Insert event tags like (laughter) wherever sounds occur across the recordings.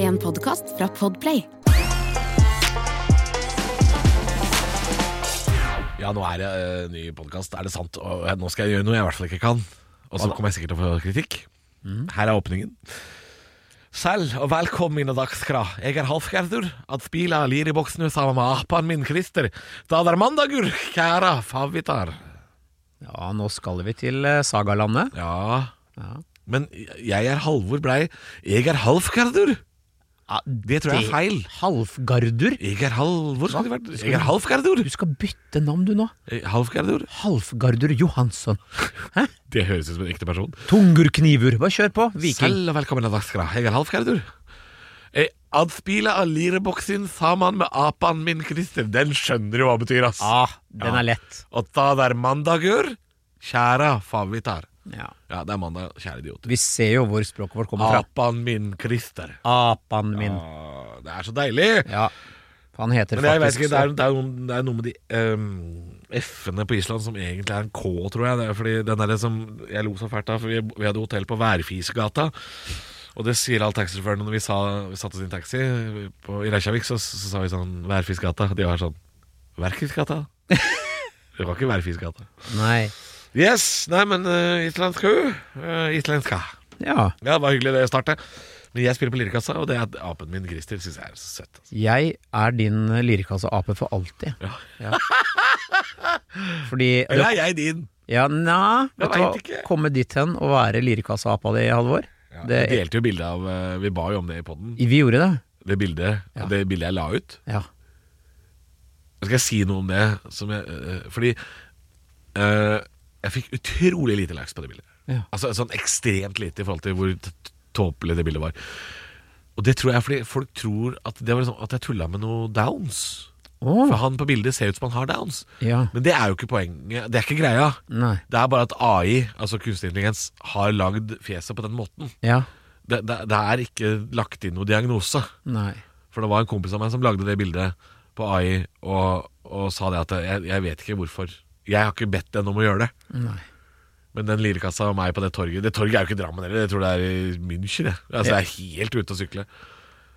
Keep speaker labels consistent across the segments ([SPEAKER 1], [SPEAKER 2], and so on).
[SPEAKER 1] en podkast fra Podplay.
[SPEAKER 2] Ja, nå er det eh, ny podkast. Er det sant? Og, eh, nå skal jeg gjøre noe jeg i hvert fall ikke kan. Og så kommer jeg sikkert til å få kritikk. Her er åpningen. Selv og velkommen mine dagskra. Jeg er Halvgerdur. At spila lir i boksen sammen med apan min Christer. Da det er mandagur, kjære favvitar.
[SPEAKER 3] Ja, nå skal vi til eh, Sagalandet.
[SPEAKER 2] Ja,
[SPEAKER 3] Ja.
[SPEAKER 2] men jeg er Halvor Blei. Jeg er Halvgerdur. Det Sånn. tror jeg er feil.
[SPEAKER 3] Halvgardur.
[SPEAKER 2] Jeg er Halvor, skulle det vært. Jeg er Halvgerdur.
[SPEAKER 3] Du skal bytte navn du nå.
[SPEAKER 2] Halvgerdur.
[SPEAKER 3] Halvgardur Johansson. Hæ?
[SPEAKER 2] Det høres ut som en ekte person.
[SPEAKER 3] Tungurknivur. Bare kjør på. Viking.
[SPEAKER 2] Selv og velkommen til Dagsgra. Jeg er Half Gerdur. Jeg adspiller av lireboksen sammen med apan min, Christer. Den skjønner jo hva betyr, ass.
[SPEAKER 3] Ah, den
[SPEAKER 2] Ja.
[SPEAKER 3] er lett.
[SPEAKER 2] Og da det er mandagur, kjære favvitar.
[SPEAKER 3] Ja.
[SPEAKER 2] Ja, det er mandag, kjære idioter.
[SPEAKER 3] Vi ser jo hvor språket vårt kommer fra.
[SPEAKER 2] Apan min, Christer.
[SPEAKER 3] Apan min.
[SPEAKER 2] Åh, det er så deilig.
[SPEAKER 3] Ja. Han heter
[SPEAKER 2] Men jeg vet
[SPEAKER 3] faktisk
[SPEAKER 2] ikke, det er, det er, noen- det er noe med de ehm, F-ene på Island som egentlig er en K, tror jeg. Det er fordi den der som jeg lo så fælt av, for vi, vi hadde hotell på Værfisgata. Og det sier alle taxisjåførene når vi, sa, vi satte oss i en taxi på, i Reykjavik, så, så sa vi sånn Værfisgata. De var sånn Værfisgata? (laughs) Det var ikke Værfisgata.
[SPEAKER 3] Nei.
[SPEAKER 2] Yes! Nei, men uh, islandsk ø. eh, islandska.
[SPEAKER 3] Ja.
[SPEAKER 2] Ja, det var hyggelig det å starte. Men jeg spiller på Lirikassa, og det at apen min Christer syns jeg er så søtt. altså.
[SPEAKER 3] Jeg er din lirekasseape for alltid.
[SPEAKER 2] Ja.
[SPEAKER 3] Ja. Fordi
[SPEAKER 2] Eller er jeg din?
[SPEAKER 3] Ja, na,
[SPEAKER 2] Jeg
[SPEAKER 3] vet du hva?
[SPEAKER 2] vet ikke.
[SPEAKER 3] Komme dit hen og være lirekasseapa di, Halvor.
[SPEAKER 2] Ja,
[SPEAKER 3] det,
[SPEAKER 2] vi delte jo bildet av eh, Vi ba jo om det i poden.
[SPEAKER 3] vi gjorde det.
[SPEAKER 2] Det bildet,
[SPEAKER 3] Ja.
[SPEAKER 2] det bildet jeg la ut.
[SPEAKER 3] Ja.
[SPEAKER 2] Skal jeg si noe om det? Som jeg, eh, fordi eh, jeg fikk utrolig lite likes på det bildet.
[SPEAKER 3] Ja.
[SPEAKER 2] Altså Sånn ekstremt lite i forhold til hvor t- t- tåpelig det bildet var. Og det tror jeg er fordi folk tror at, det var liksom, at jeg tulla med noe downs.
[SPEAKER 3] Å,
[SPEAKER 2] For han på bildet ser ut som han har downs.
[SPEAKER 3] ja.
[SPEAKER 2] Men det er jo ikke poenget. Det er ikke greia.
[SPEAKER 3] Nei.
[SPEAKER 2] Det er bare at AI, altså kunstig intelligens, har lagd fjeset på den måten.
[SPEAKER 3] Ja.
[SPEAKER 2] Det, det, det er ikke lagt inn noe diagnose.
[SPEAKER 3] Nei.
[SPEAKER 2] For det var en kompis av meg som lagde det bildet på AI og, og sa det at jeg, jeg vet ikke hvorfor. Jeg har ikke bedt den om å gjøre det.
[SPEAKER 3] Nei.
[SPEAKER 2] Men den lirekassa og meg på det torget Det torget er jo ikke Drammen heller, jeg tror det er i München. Jeg. Altså, jeg er helt ute å sykle.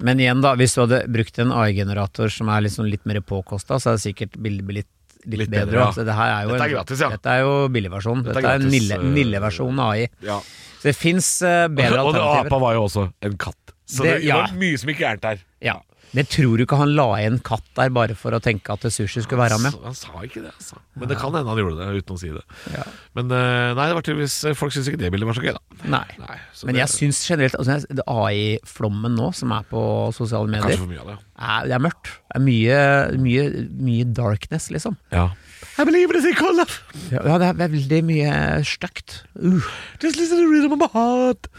[SPEAKER 3] Men igjen, da, hvis du hadde brukt en AI-generator som er liksom litt mer påkosta, så hadde sikkert bildet blitt litt,
[SPEAKER 2] Litt bedre,
[SPEAKER 3] bedre.
[SPEAKER 2] ja.
[SPEAKER 3] altså, det her er jo
[SPEAKER 2] Dette er
[SPEAKER 3] en-
[SPEAKER 2] gratis, ja.
[SPEAKER 3] Dette er jo billigversjonen.
[SPEAKER 2] Dette
[SPEAKER 3] Dette,
[SPEAKER 2] er
[SPEAKER 3] er en
[SPEAKER 2] gratis,
[SPEAKER 3] nille-
[SPEAKER 2] eh,
[SPEAKER 3] nilleversjon av AI.
[SPEAKER 2] Ja.
[SPEAKER 3] Så det fins bedre
[SPEAKER 2] og apa
[SPEAKER 3] alternativer.
[SPEAKER 2] var jo også en katt. Så det,
[SPEAKER 3] Det- ja.
[SPEAKER 2] var mye som gikk gærent der.
[SPEAKER 3] Ja. Det tror du ikke han la igjen katt der bare for å tenke at sushi skulle være med?
[SPEAKER 2] Så han sa ikke det, altså. Men det kan hende han gjorde det uten å si det.
[SPEAKER 3] Ja.
[SPEAKER 2] Men eh, nei, det var tydeligvis folk syntes ikke det bildet var så gøy, da.
[SPEAKER 3] Nei.
[SPEAKER 2] Nei, så
[SPEAKER 3] Men
[SPEAKER 2] det-
[SPEAKER 3] jeg syns generelt altså, jeg- det AI-flommen nå, som er på sosiale medier,
[SPEAKER 2] Kanskje for mye av det.
[SPEAKER 3] er, det er mørkt. Det er mye, mye, mye darkness, liksom.
[SPEAKER 2] Ja. I believe it is in color.
[SPEAKER 3] Ja, ja, det er veldig mye stygt. Uh,
[SPEAKER 2] Just listen to the rhythm of my heart.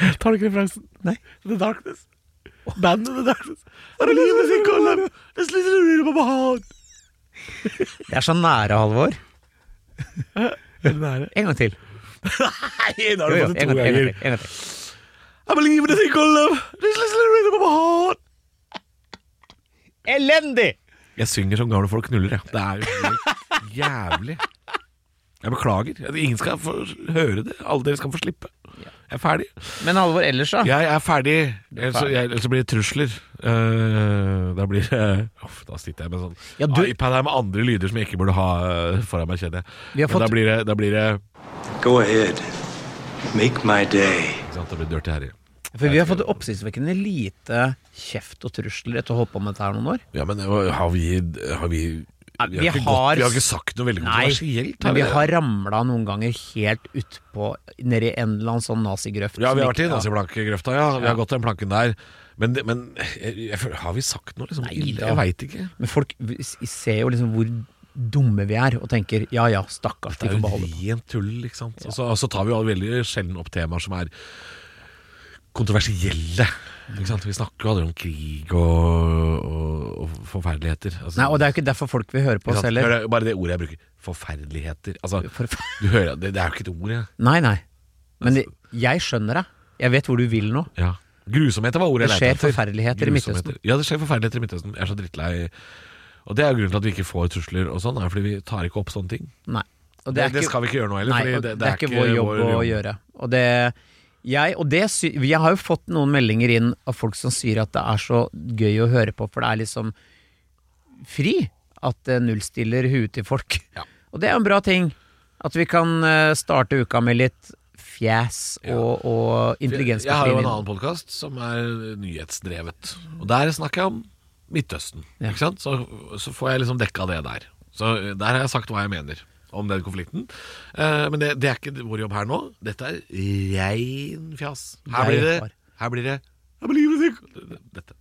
[SPEAKER 3] Er
[SPEAKER 2] Tar du ikke referansen?
[SPEAKER 3] Nei.
[SPEAKER 2] The Darkness. Bandet The Darkness. Bare listen to the column. Just listen to the rhythm of my heart.
[SPEAKER 3] det er så nære, Halvor. En gang til.
[SPEAKER 2] Nei, nå har
[SPEAKER 3] Jo,
[SPEAKER 2] du
[SPEAKER 3] jo,
[SPEAKER 2] fått det to
[SPEAKER 3] en, gang, en, gang
[SPEAKER 2] ganger.
[SPEAKER 3] til en gang til.
[SPEAKER 2] I believe in a thing called love. Just listen to the rhythm of my heart.
[SPEAKER 3] Elendig!
[SPEAKER 2] Jeg synger som gamle folk knuller, jeg. Det er jo helt jævlig. Jeg beklager. Ingen skal få høre det. Alle dere skal få slippe. Jeg er ferdig.
[SPEAKER 3] Men Halvor ellers, da?
[SPEAKER 2] Jeg er ferdig. Ellers så-
[SPEAKER 3] ferdig.
[SPEAKER 2] jeg- ellers så blir det trusler. Eh, da blir det Uff, Da sitter jeg med sånn
[SPEAKER 3] Ja, du-
[SPEAKER 2] iPad her med andre lyder som jeg ikke burde ha eh, foran meg, kjenner jeg.
[SPEAKER 3] Vi
[SPEAKER 2] Men
[SPEAKER 3] har
[SPEAKER 2] da
[SPEAKER 3] fått-
[SPEAKER 2] blir det, da blir det
[SPEAKER 4] Go ahead. Make my day.
[SPEAKER 2] ikke sant, Da blir det dirty herre.
[SPEAKER 3] For vi har fått oppsiktsvekkende lite kjeft og trusler etter å holde på med dette her noen år.
[SPEAKER 2] Ja, men eh, har vi Har vi
[SPEAKER 3] Ja,
[SPEAKER 2] vi har,
[SPEAKER 3] vi
[SPEAKER 2] ikke
[SPEAKER 3] har-
[SPEAKER 2] gått, vi har ikke sagt noe veldig
[SPEAKER 3] Nei,
[SPEAKER 2] kontroversielt.
[SPEAKER 3] men
[SPEAKER 2] vi
[SPEAKER 3] vi
[SPEAKER 2] det?
[SPEAKER 3] har ramla noen ganger helt utpå, nedi en eller annen sånn nazigrøft.
[SPEAKER 2] Ja, vi har
[SPEAKER 3] som
[SPEAKER 2] vært i
[SPEAKER 3] ikke- ja.
[SPEAKER 2] naziblankegrøfta, ja. Vi
[SPEAKER 3] Ja.
[SPEAKER 2] har gått den planken der. Men, det- men jeg, jeg, føler- har vi sagt noe liksom ille? Jeg veit ikke.
[SPEAKER 3] Men folk v- s- ser jo liksom hvor dumme vi er, og tenker ja ja, stakkars, de
[SPEAKER 2] Det er
[SPEAKER 3] får
[SPEAKER 2] jo
[SPEAKER 3] beholde det.
[SPEAKER 2] rent tull, ikke sant. Og, så, og så tar vi jo veldig sjelden opp temaer som er kontroversielle. Ikke sant? Vi snakker jo aldri om krig og, og, og forferdeligheter. Altså,
[SPEAKER 3] Nei, og det er jo ikke derfor folk vil høre på
[SPEAKER 2] ikke
[SPEAKER 3] oss
[SPEAKER 2] sant?
[SPEAKER 3] heller.
[SPEAKER 2] Hør, bare det ordet jeg bruker. Forferdeligheter. Altså,
[SPEAKER 3] Forf-
[SPEAKER 2] du hører, det, det er jo ikke et ord, jeg.
[SPEAKER 3] Nei, nei.
[SPEAKER 2] Altså-
[SPEAKER 3] Men det, jeg skjønner deg. Jeg vet hvor du vil nå.
[SPEAKER 2] Ja. Grusomheter var ordet
[SPEAKER 3] Det
[SPEAKER 2] jeg lette
[SPEAKER 3] skjer forferdeligheter i
[SPEAKER 2] Grusomheter.
[SPEAKER 3] Midtøsten.
[SPEAKER 2] Ja, det skjer forferdeligheter i Midtøsten. Jeg er så drittlei. Og det er jo grunnen til at vi ikke får trusler og sånn, er fordi vi tar ikke opp sånne ting.
[SPEAKER 3] Nei. Og
[SPEAKER 2] Det, det skal vi ikke gjøre nå heller.
[SPEAKER 3] Nei,
[SPEAKER 2] fordi
[SPEAKER 3] og det, er ikke vår jobb å gjøre. Og det Jeg, og det, sy- jeg har jo fått noen meldinger inn av folk som sier at det er så gøy å høre på, for det er liksom fri at det nullstiller huet til folk.
[SPEAKER 2] Ja.
[SPEAKER 3] Og det er jo en bra ting. At vi kan eh, starte uka med litt fjes og, og intelligens.
[SPEAKER 2] Jeg har jo en annen podkast som er nyhetsdrevet. Og der snakker jeg om Midtøsten.
[SPEAKER 3] Ja.
[SPEAKER 2] Ikke sant? Så, så får jeg liksom dekka det der. Så eh, der har jeg sagt hva jeg mener om den konflikten. Eh, men det, det er ikke vår jobb her nå. Dette er rein fjas. Her
[SPEAKER 3] Jeg
[SPEAKER 2] blir det
[SPEAKER 3] har-
[SPEAKER 2] Her blir det her blir det musikk. Dette.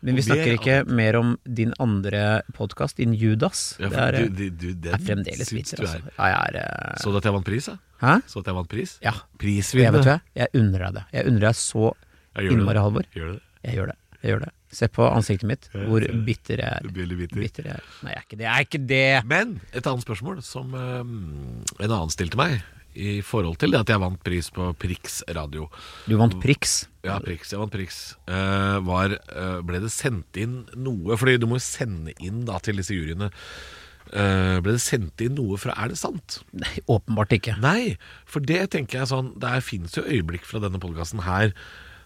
[SPEAKER 3] Men vi
[SPEAKER 2] og det
[SPEAKER 3] snakker
[SPEAKER 2] er
[SPEAKER 3] ikke mer om din andre podkast, din Judas.
[SPEAKER 2] Ja,
[SPEAKER 3] det
[SPEAKER 2] for
[SPEAKER 3] er, eh,
[SPEAKER 2] du- du- du- den
[SPEAKER 3] er fremdeles
[SPEAKER 2] syns
[SPEAKER 3] vitser,
[SPEAKER 2] du
[SPEAKER 3] altså.
[SPEAKER 2] er.
[SPEAKER 3] Ja, jeg er eh,
[SPEAKER 2] Så du at jeg vant pris? Jeg?
[SPEAKER 3] Hæ?
[SPEAKER 2] Så at jeg vant pris?
[SPEAKER 3] Ja. Og jeg, vet du,
[SPEAKER 2] Prisvinnende.
[SPEAKER 3] hva? jeg unner deg det. Jeg unner deg så
[SPEAKER 2] Ja, gjør du
[SPEAKER 3] innmari,
[SPEAKER 2] det?
[SPEAKER 3] Halvor.
[SPEAKER 2] Gjør du det?
[SPEAKER 3] Jeg gjør det. Jeg gjør det. Se på ansiktet mitt,
[SPEAKER 2] jeg
[SPEAKER 3] hvor
[SPEAKER 2] ser det.
[SPEAKER 3] bitter jeg
[SPEAKER 2] Du
[SPEAKER 3] er.
[SPEAKER 2] blir litt bitter.
[SPEAKER 3] Bitter jeg er. Nei, jeg er ikke det. Jeg er ikke det.
[SPEAKER 2] Men et annet spørsmål som eh, en annen stilte meg i forhold til det at jeg vant pris på Prix radio.
[SPEAKER 3] Du vant Prix.
[SPEAKER 2] Ja, Prix, jeg vant Prix. Eh, var, eh, ble det sendt inn noe Fordi du må jo sende inn da til disse juryene. Eh, ble det sendt inn noe fra Er det sant?
[SPEAKER 3] Nei, åpenbart ikke.
[SPEAKER 2] Nei, for det tenker jeg sånn Det finnes jo øyeblikk fra denne podkasten her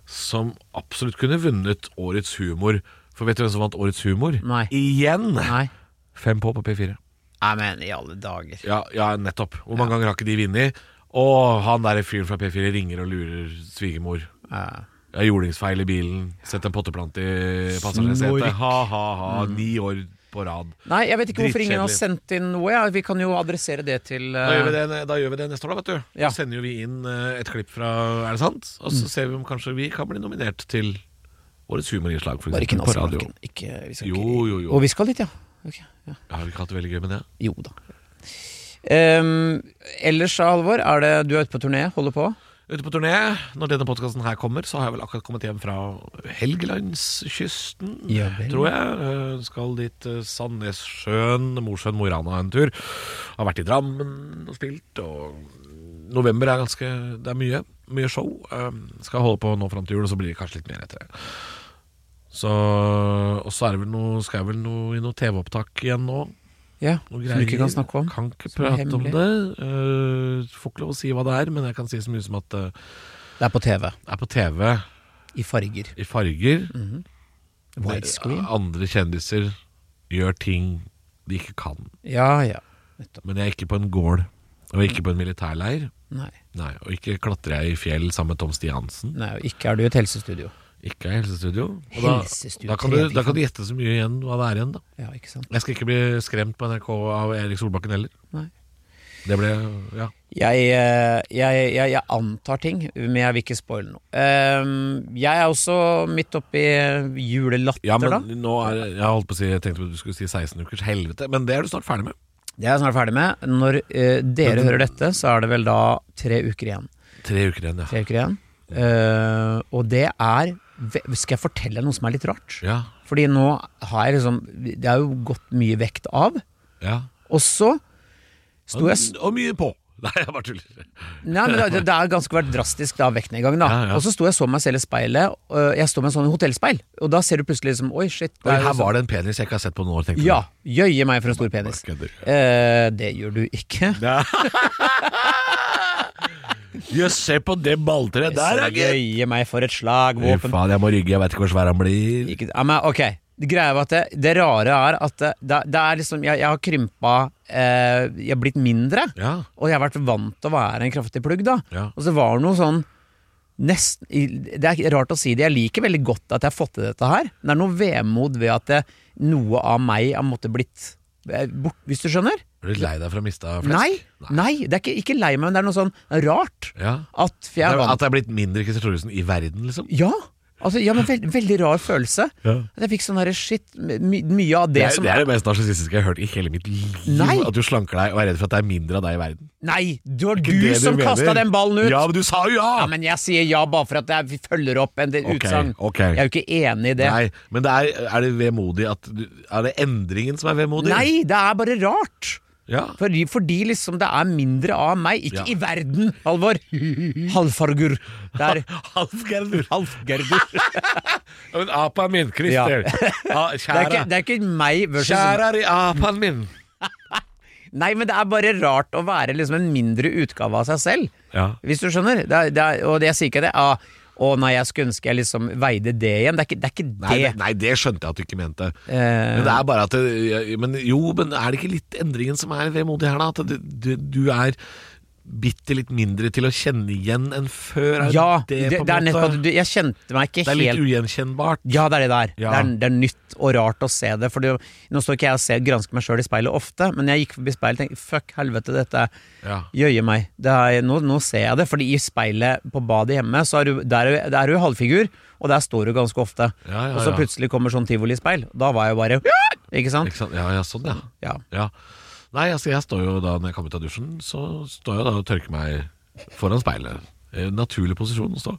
[SPEAKER 2] som absolutt kunne vunnet Årets humor. For vet du hvem som vant Årets humor?
[SPEAKER 3] Nei.
[SPEAKER 2] Igjen!
[SPEAKER 3] Nei.
[SPEAKER 2] Fem på på P4.
[SPEAKER 3] Nei, men i alle dager.
[SPEAKER 2] Ja, ja nettopp. Hvor mange ganger har ikke de vunnet? Å, han der fyren fra P4 ringer og lurer svigermor.
[SPEAKER 3] Eh,
[SPEAKER 2] Jeg har jordingsfeil i bilen. Sett en potteplante i passasjersetet.
[SPEAKER 3] Snork. Mm.
[SPEAKER 2] Ha, ha, ha. Ni år på rad.
[SPEAKER 3] Nei, jeg vet ikke hvorfor ingen har
[SPEAKER 2] Drittkjedelig.
[SPEAKER 3] sendt inn noe. Ja. Vi kan jo adressere det til
[SPEAKER 2] Da gjør vi
[SPEAKER 3] eh,
[SPEAKER 2] det, da gjør vi det neste år, da, vet du.
[SPEAKER 3] Ja. Mm.
[SPEAKER 2] Så sender jo vi inn eh, et klipp fra Er det sant? Og så ser vi om kanskje vi kan bli nominert til Årets humorinnslag, for
[SPEAKER 3] Bare ikke
[SPEAKER 2] eksempel. På radio.
[SPEAKER 3] Nazibanken. Ikke, vi skal
[SPEAKER 2] Jo,
[SPEAKER 3] ikke-
[SPEAKER 2] jo, jo.
[SPEAKER 3] Og vi skal dit, ja. Ok, ja.
[SPEAKER 2] Jeg har vi ikke hatt det veldig gøy med det?
[SPEAKER 3] Jo da. Um, ellers, Halvor, er det du er ute på turné? Holder på?
[SPEAKER 2] Ute på turné, når denne podkasten her kommer, så har jeg vel akkurat kommet hjem fra Helgelandskysten,
[SPEAKER 3] Ja vel.
[SPEAKER 2] tror jeg. Eh, Skal dit eh, Sandnessjøen, Mosjøen, Mo i Rana en tur. Har vært i Drammen og spilt, og november er ganske Det er mye. Mye show. Eh, Skal holde på nå fram til jul, og så blir det kanskje litt mer etter det. Så, og så er det vel noe, skal jeg vel noe, i noe TV-opptak igjen nå.
[SPEAKER 3] Ja,
[SPEAKER 2] Noe
[SPEAKER 3] Som
[SPEAKER 2] greier.
[SPEAKER 3] du ikke kan snakke om?
[SPEAKER 2] Kan ikke
[SPEAKER 3] som er
[SPEAKER 2] prate om
[SPEAKER 3] hemmelig.
[SPEAKER 2] det. Eh, får ikke lov å si hva det er, men jeg kan si så mye som at eh,
[SPEAKER 3] Det er på TV.
[SPEAKER 2] er på TV
[SPEAKER 3] I farger.
[SPEAKER 2] i farger.
[SPEAKER 3] Mm. Widescreen.
[SPEAKER 2] Andre kjendiser gjør ting de ikke kan.
[SPEAKER 3] Ja ja. Nettopp.
[SPEAKER 2] Men jeg er ikke på en gård, og jeg er ikke på en militærleir.
[SPEAKER 3] Nei.
[SPEAKER 2] Nei, Og ikke klatrer jeg i fjell sammen med Tom Stiansen.
[SPEAKER 3] Nei, og ikke er du i et helsestudio.
[SPEAKER 2] Ikke i helsestudio. Og da,
[SPEAKER 3] Helsestudio,
[SPEAKER 2] da, kan du,
[SPEAKER 3] trening.
[SPEAKER 2] da kan du gjette så mye igjen hva det er igjen, da.
[SPEAKER 3] Ja, ikke sant.
[SPEAKER 2] Jeg skal ikke bli skremt på NRK av Erik Solbakken heller.
[SPEAKER 3] Nei.
[SPEAKER 2] Det ble Ja.
[SPEAKER 3] Jeg, eh, jeg, jeg, jeg antar ting, men jeg vil ikke spoile noe. Um, jeg er også midt oppi julelatter,
[SPEAKER 2] ja men
[SPEAKER 3] da.
[SPEAKER 2] nå er Jeg holdt på å si Jeg tenkte du skulle si 16 ukers helvete, men det er du snart ferdig med.
[SPEAKER 3] Det er jeg snart ferdig med. Når eh, dere hører dette, så er det vel da tre uker igjen.
[SPEAKER 2] Tre uker igjen, ja.
[SPEAKER 3] Tre uker igjen. Eh, og det er ve- Skal jeg fortelle noe som er litt rart?
[SPEAKER 2] Ja.
[SPEAKER 3] Fordi nå har jeg liksom Det er jo gått mye vekt av.
[SPEAKER 2] ja.
[SPEAKER 3] Og så sto jeg
[SPEAKER 2] Og mye på. (laughs) Nei, jeg bare tuller.
[SPEAKER 3] Nei, men det, det har ganske vært drastisk da, vektnedgang. da.
[SPEAKER 2] Ja, ja.
[SPEAKER 3] Og så sto jeg og så meg selv i speilet. og jeg står med en sånn hotellspeil, og da ser du plutselig liksom Oi, shit.
[SPEAKER 2] Oi, her var det en penis jeg ikke har sett på noen år, tenkte
[SPEAKER 3] sånn- Ja. Jøye meg for en stor
[SPEAKER 2] du.
[SPEAKER 3] penis.
[SPEAKER 2] Kødder.
[SPEAKER 3] Eh, det gjør du ikke.
[SPEAKER 2] Jøss, se på det balltreet der, da, gitt!
[SPEAKER 3] Jøye meg for et slag,
[SPEAKER 2] Fy
[SPEAKER 3] våpen
[SPEAKER 2] faen, jeg må rygge, jeg vet ikke hvor svær han blir.
[SPEAKER 3] Ikke, ja, men ok, det greia var at det, det rare er at det, det, det er liksom Jeg, jeg har krympa eh, Jeg har blitt mindre,
[SPEAKER 2] Ja,
[SPEAKER 3] og jeg har vært vant til å være en kraftig plugg, da.
[SPEAKER 2] Ja.
[SPEAKER 3] Og så var det noe sånn nesten, i- Det er rart å si det, jeg liker veldig godt at jeg har fått til dette her. Men det er noe vemod ved at det, noe av meg har måttet blitt eh, bort, hvis du skjønner?
[SPEAKER 2] Er du lei deg for å miste flesk?
[SPEAKER 3] Nei, nei, det er ikke, ikke lei meg, men det er noe sånn rart.
[SPEAKER 2] Ja.
[SPEAKER 3] At for jeg er vant
[SPEAKER 2] At det er blitt mindre Christer Thoresen i verden, liksom?
[SPEAKER 3] Ja! Altså, ja, men veld, Veldig rar følelse.
[SPEAKER 2] Ja.
[SPEAKER 3] At Jeg fikk sånn herre shit my, Mye av det,
[SPEAKER 2] Det er,
[SPEAKER 3] som
[SPEAKER 2] det er det mest narsissistiske jeg har hørt i hele mitt liv.
[SPEAKER 3] Nei.
[SPEAKER 2] At du slanker deg og er redd for at det er mindre av deg i verden.
[SPEAKER 3] Nei, det var
[SPEAKER 2] Ikke
[SPEAKER 3] du
[SPEAKER 2] det
[SPEAKER 3] som
[SPEAKER 2] mener.
[SPEAKER 3] kasta den ballen ut!
[SPEAKER 2] Ja,
[SPEAKER 3] Ja,
[SPEAKER 2] men du sa jo ja!
[SPEAKER 3] men jeg sier ja bare for at jeg- vi følger opp en del
[SPEAKER 2] Ok,
[SPEAKER 3] utsagn.
[SPEAKER 2] ok.
[SPEAKER 3] Jeg er jo ikke enig i det. Nei,
[SPEAKER 2] Nei, men det er, er det vemodig at du, Er det endringen som er vemodig?
[SPEAKER 3] det er bare rart!
[SPEAKER 2] Ja. (laughs)
[SPEAKER 3] Fordi, fordi liksom det er mindre av meg. Ikke
[SPEAKER 2] Ja.
[SPEAKER 3] i verden,
[SPEAKER 2] (laughs)
[SPEAKER 3] Halvor! Halvfargur. Det er
[SPEAKER 2] Hans Gerdur.
[SPEAKER 3] Halvgerdur. (laughs) Det
[SPEAKER 2] Ja, Men apaen min, Christer. Ja.
[SPEAKER 3] er ikke, det er ikke meg versus
[SPEAKER 2] Kjære er i apaen min.
[SPEAKER 3] Nei, men det er bare rart å være liksom en mindre utgave av seg selv.
[SPEAKER 2] Ja.
[SPEAKER 3] Hvis du skjønner? Det er, det er, og det jeg sier ikke det ah, Å nei, jeg skulle ønske jeg liksom veide det igjen. Det er ikke det. Er ikke det.
[SPEAKER 2] Nei, det. nei, det skjønte jeg at du ikke mente.
[SPEAKER 3] Eh.
[SPEAKER 2] Men det er bare at det, jeg- men Jo, men er det ikke litt endringen som er vemodig her, da? At du, du, du er bitte litt mindre til å kjenne igjen enn før?
[SPEAKER 3] ja, det,
[SPEAKER 2] det,
[SPEAKER 3] det,
[SPEAKER 2] på en
[SPEAKER 3] er
[SPEAKER 2] måte?
[SPEAKER 3] nettopp at du, Jeg kjente meg ikke
[SPEAKER 2] Det er litt
[SPEAKER 3] helt
[SPEAKER 2] ugjenkjennbart.
[SPEAKER 3] Ja, det er det der.
[SPEAKER 2] Ja.
[SPEAKER 3] Det, er, det er nytt og rart å se det. For det, nå står ikke jeg og ser, gransker meg sjøl i speilet ofte, men jeg gikk forbi speilet og tenkte fuck helvete, dette
[SPEAKER 2] Ja.
[SPEAKER 3] jøye meg. Det er, nå, nå ser jeg det, fordi i speilet på badet hjemme, så er du, der, er- der er du i halvfigur, og der står du ganske ofte.
[SPEAKER 2] Ja, ja,
[SPEAKER 3] og så
[SPEAKER 2] ja.
[SPEAKER 3] plutselig kommer sånn tivolispeil. Da var jeg jo bare Ikke sant?
[SPEAKER 2] Ikke sant? Ja, ja, sånn, ja.
[SPEAKER 3] Ja.
[SPEAKER 2] ja. Nei, altså, jeg står jo da når jeg kommer ut av dusjen, så står jeg da og tørker meg foran speilet. Eh, Naturlig posisjon å stå.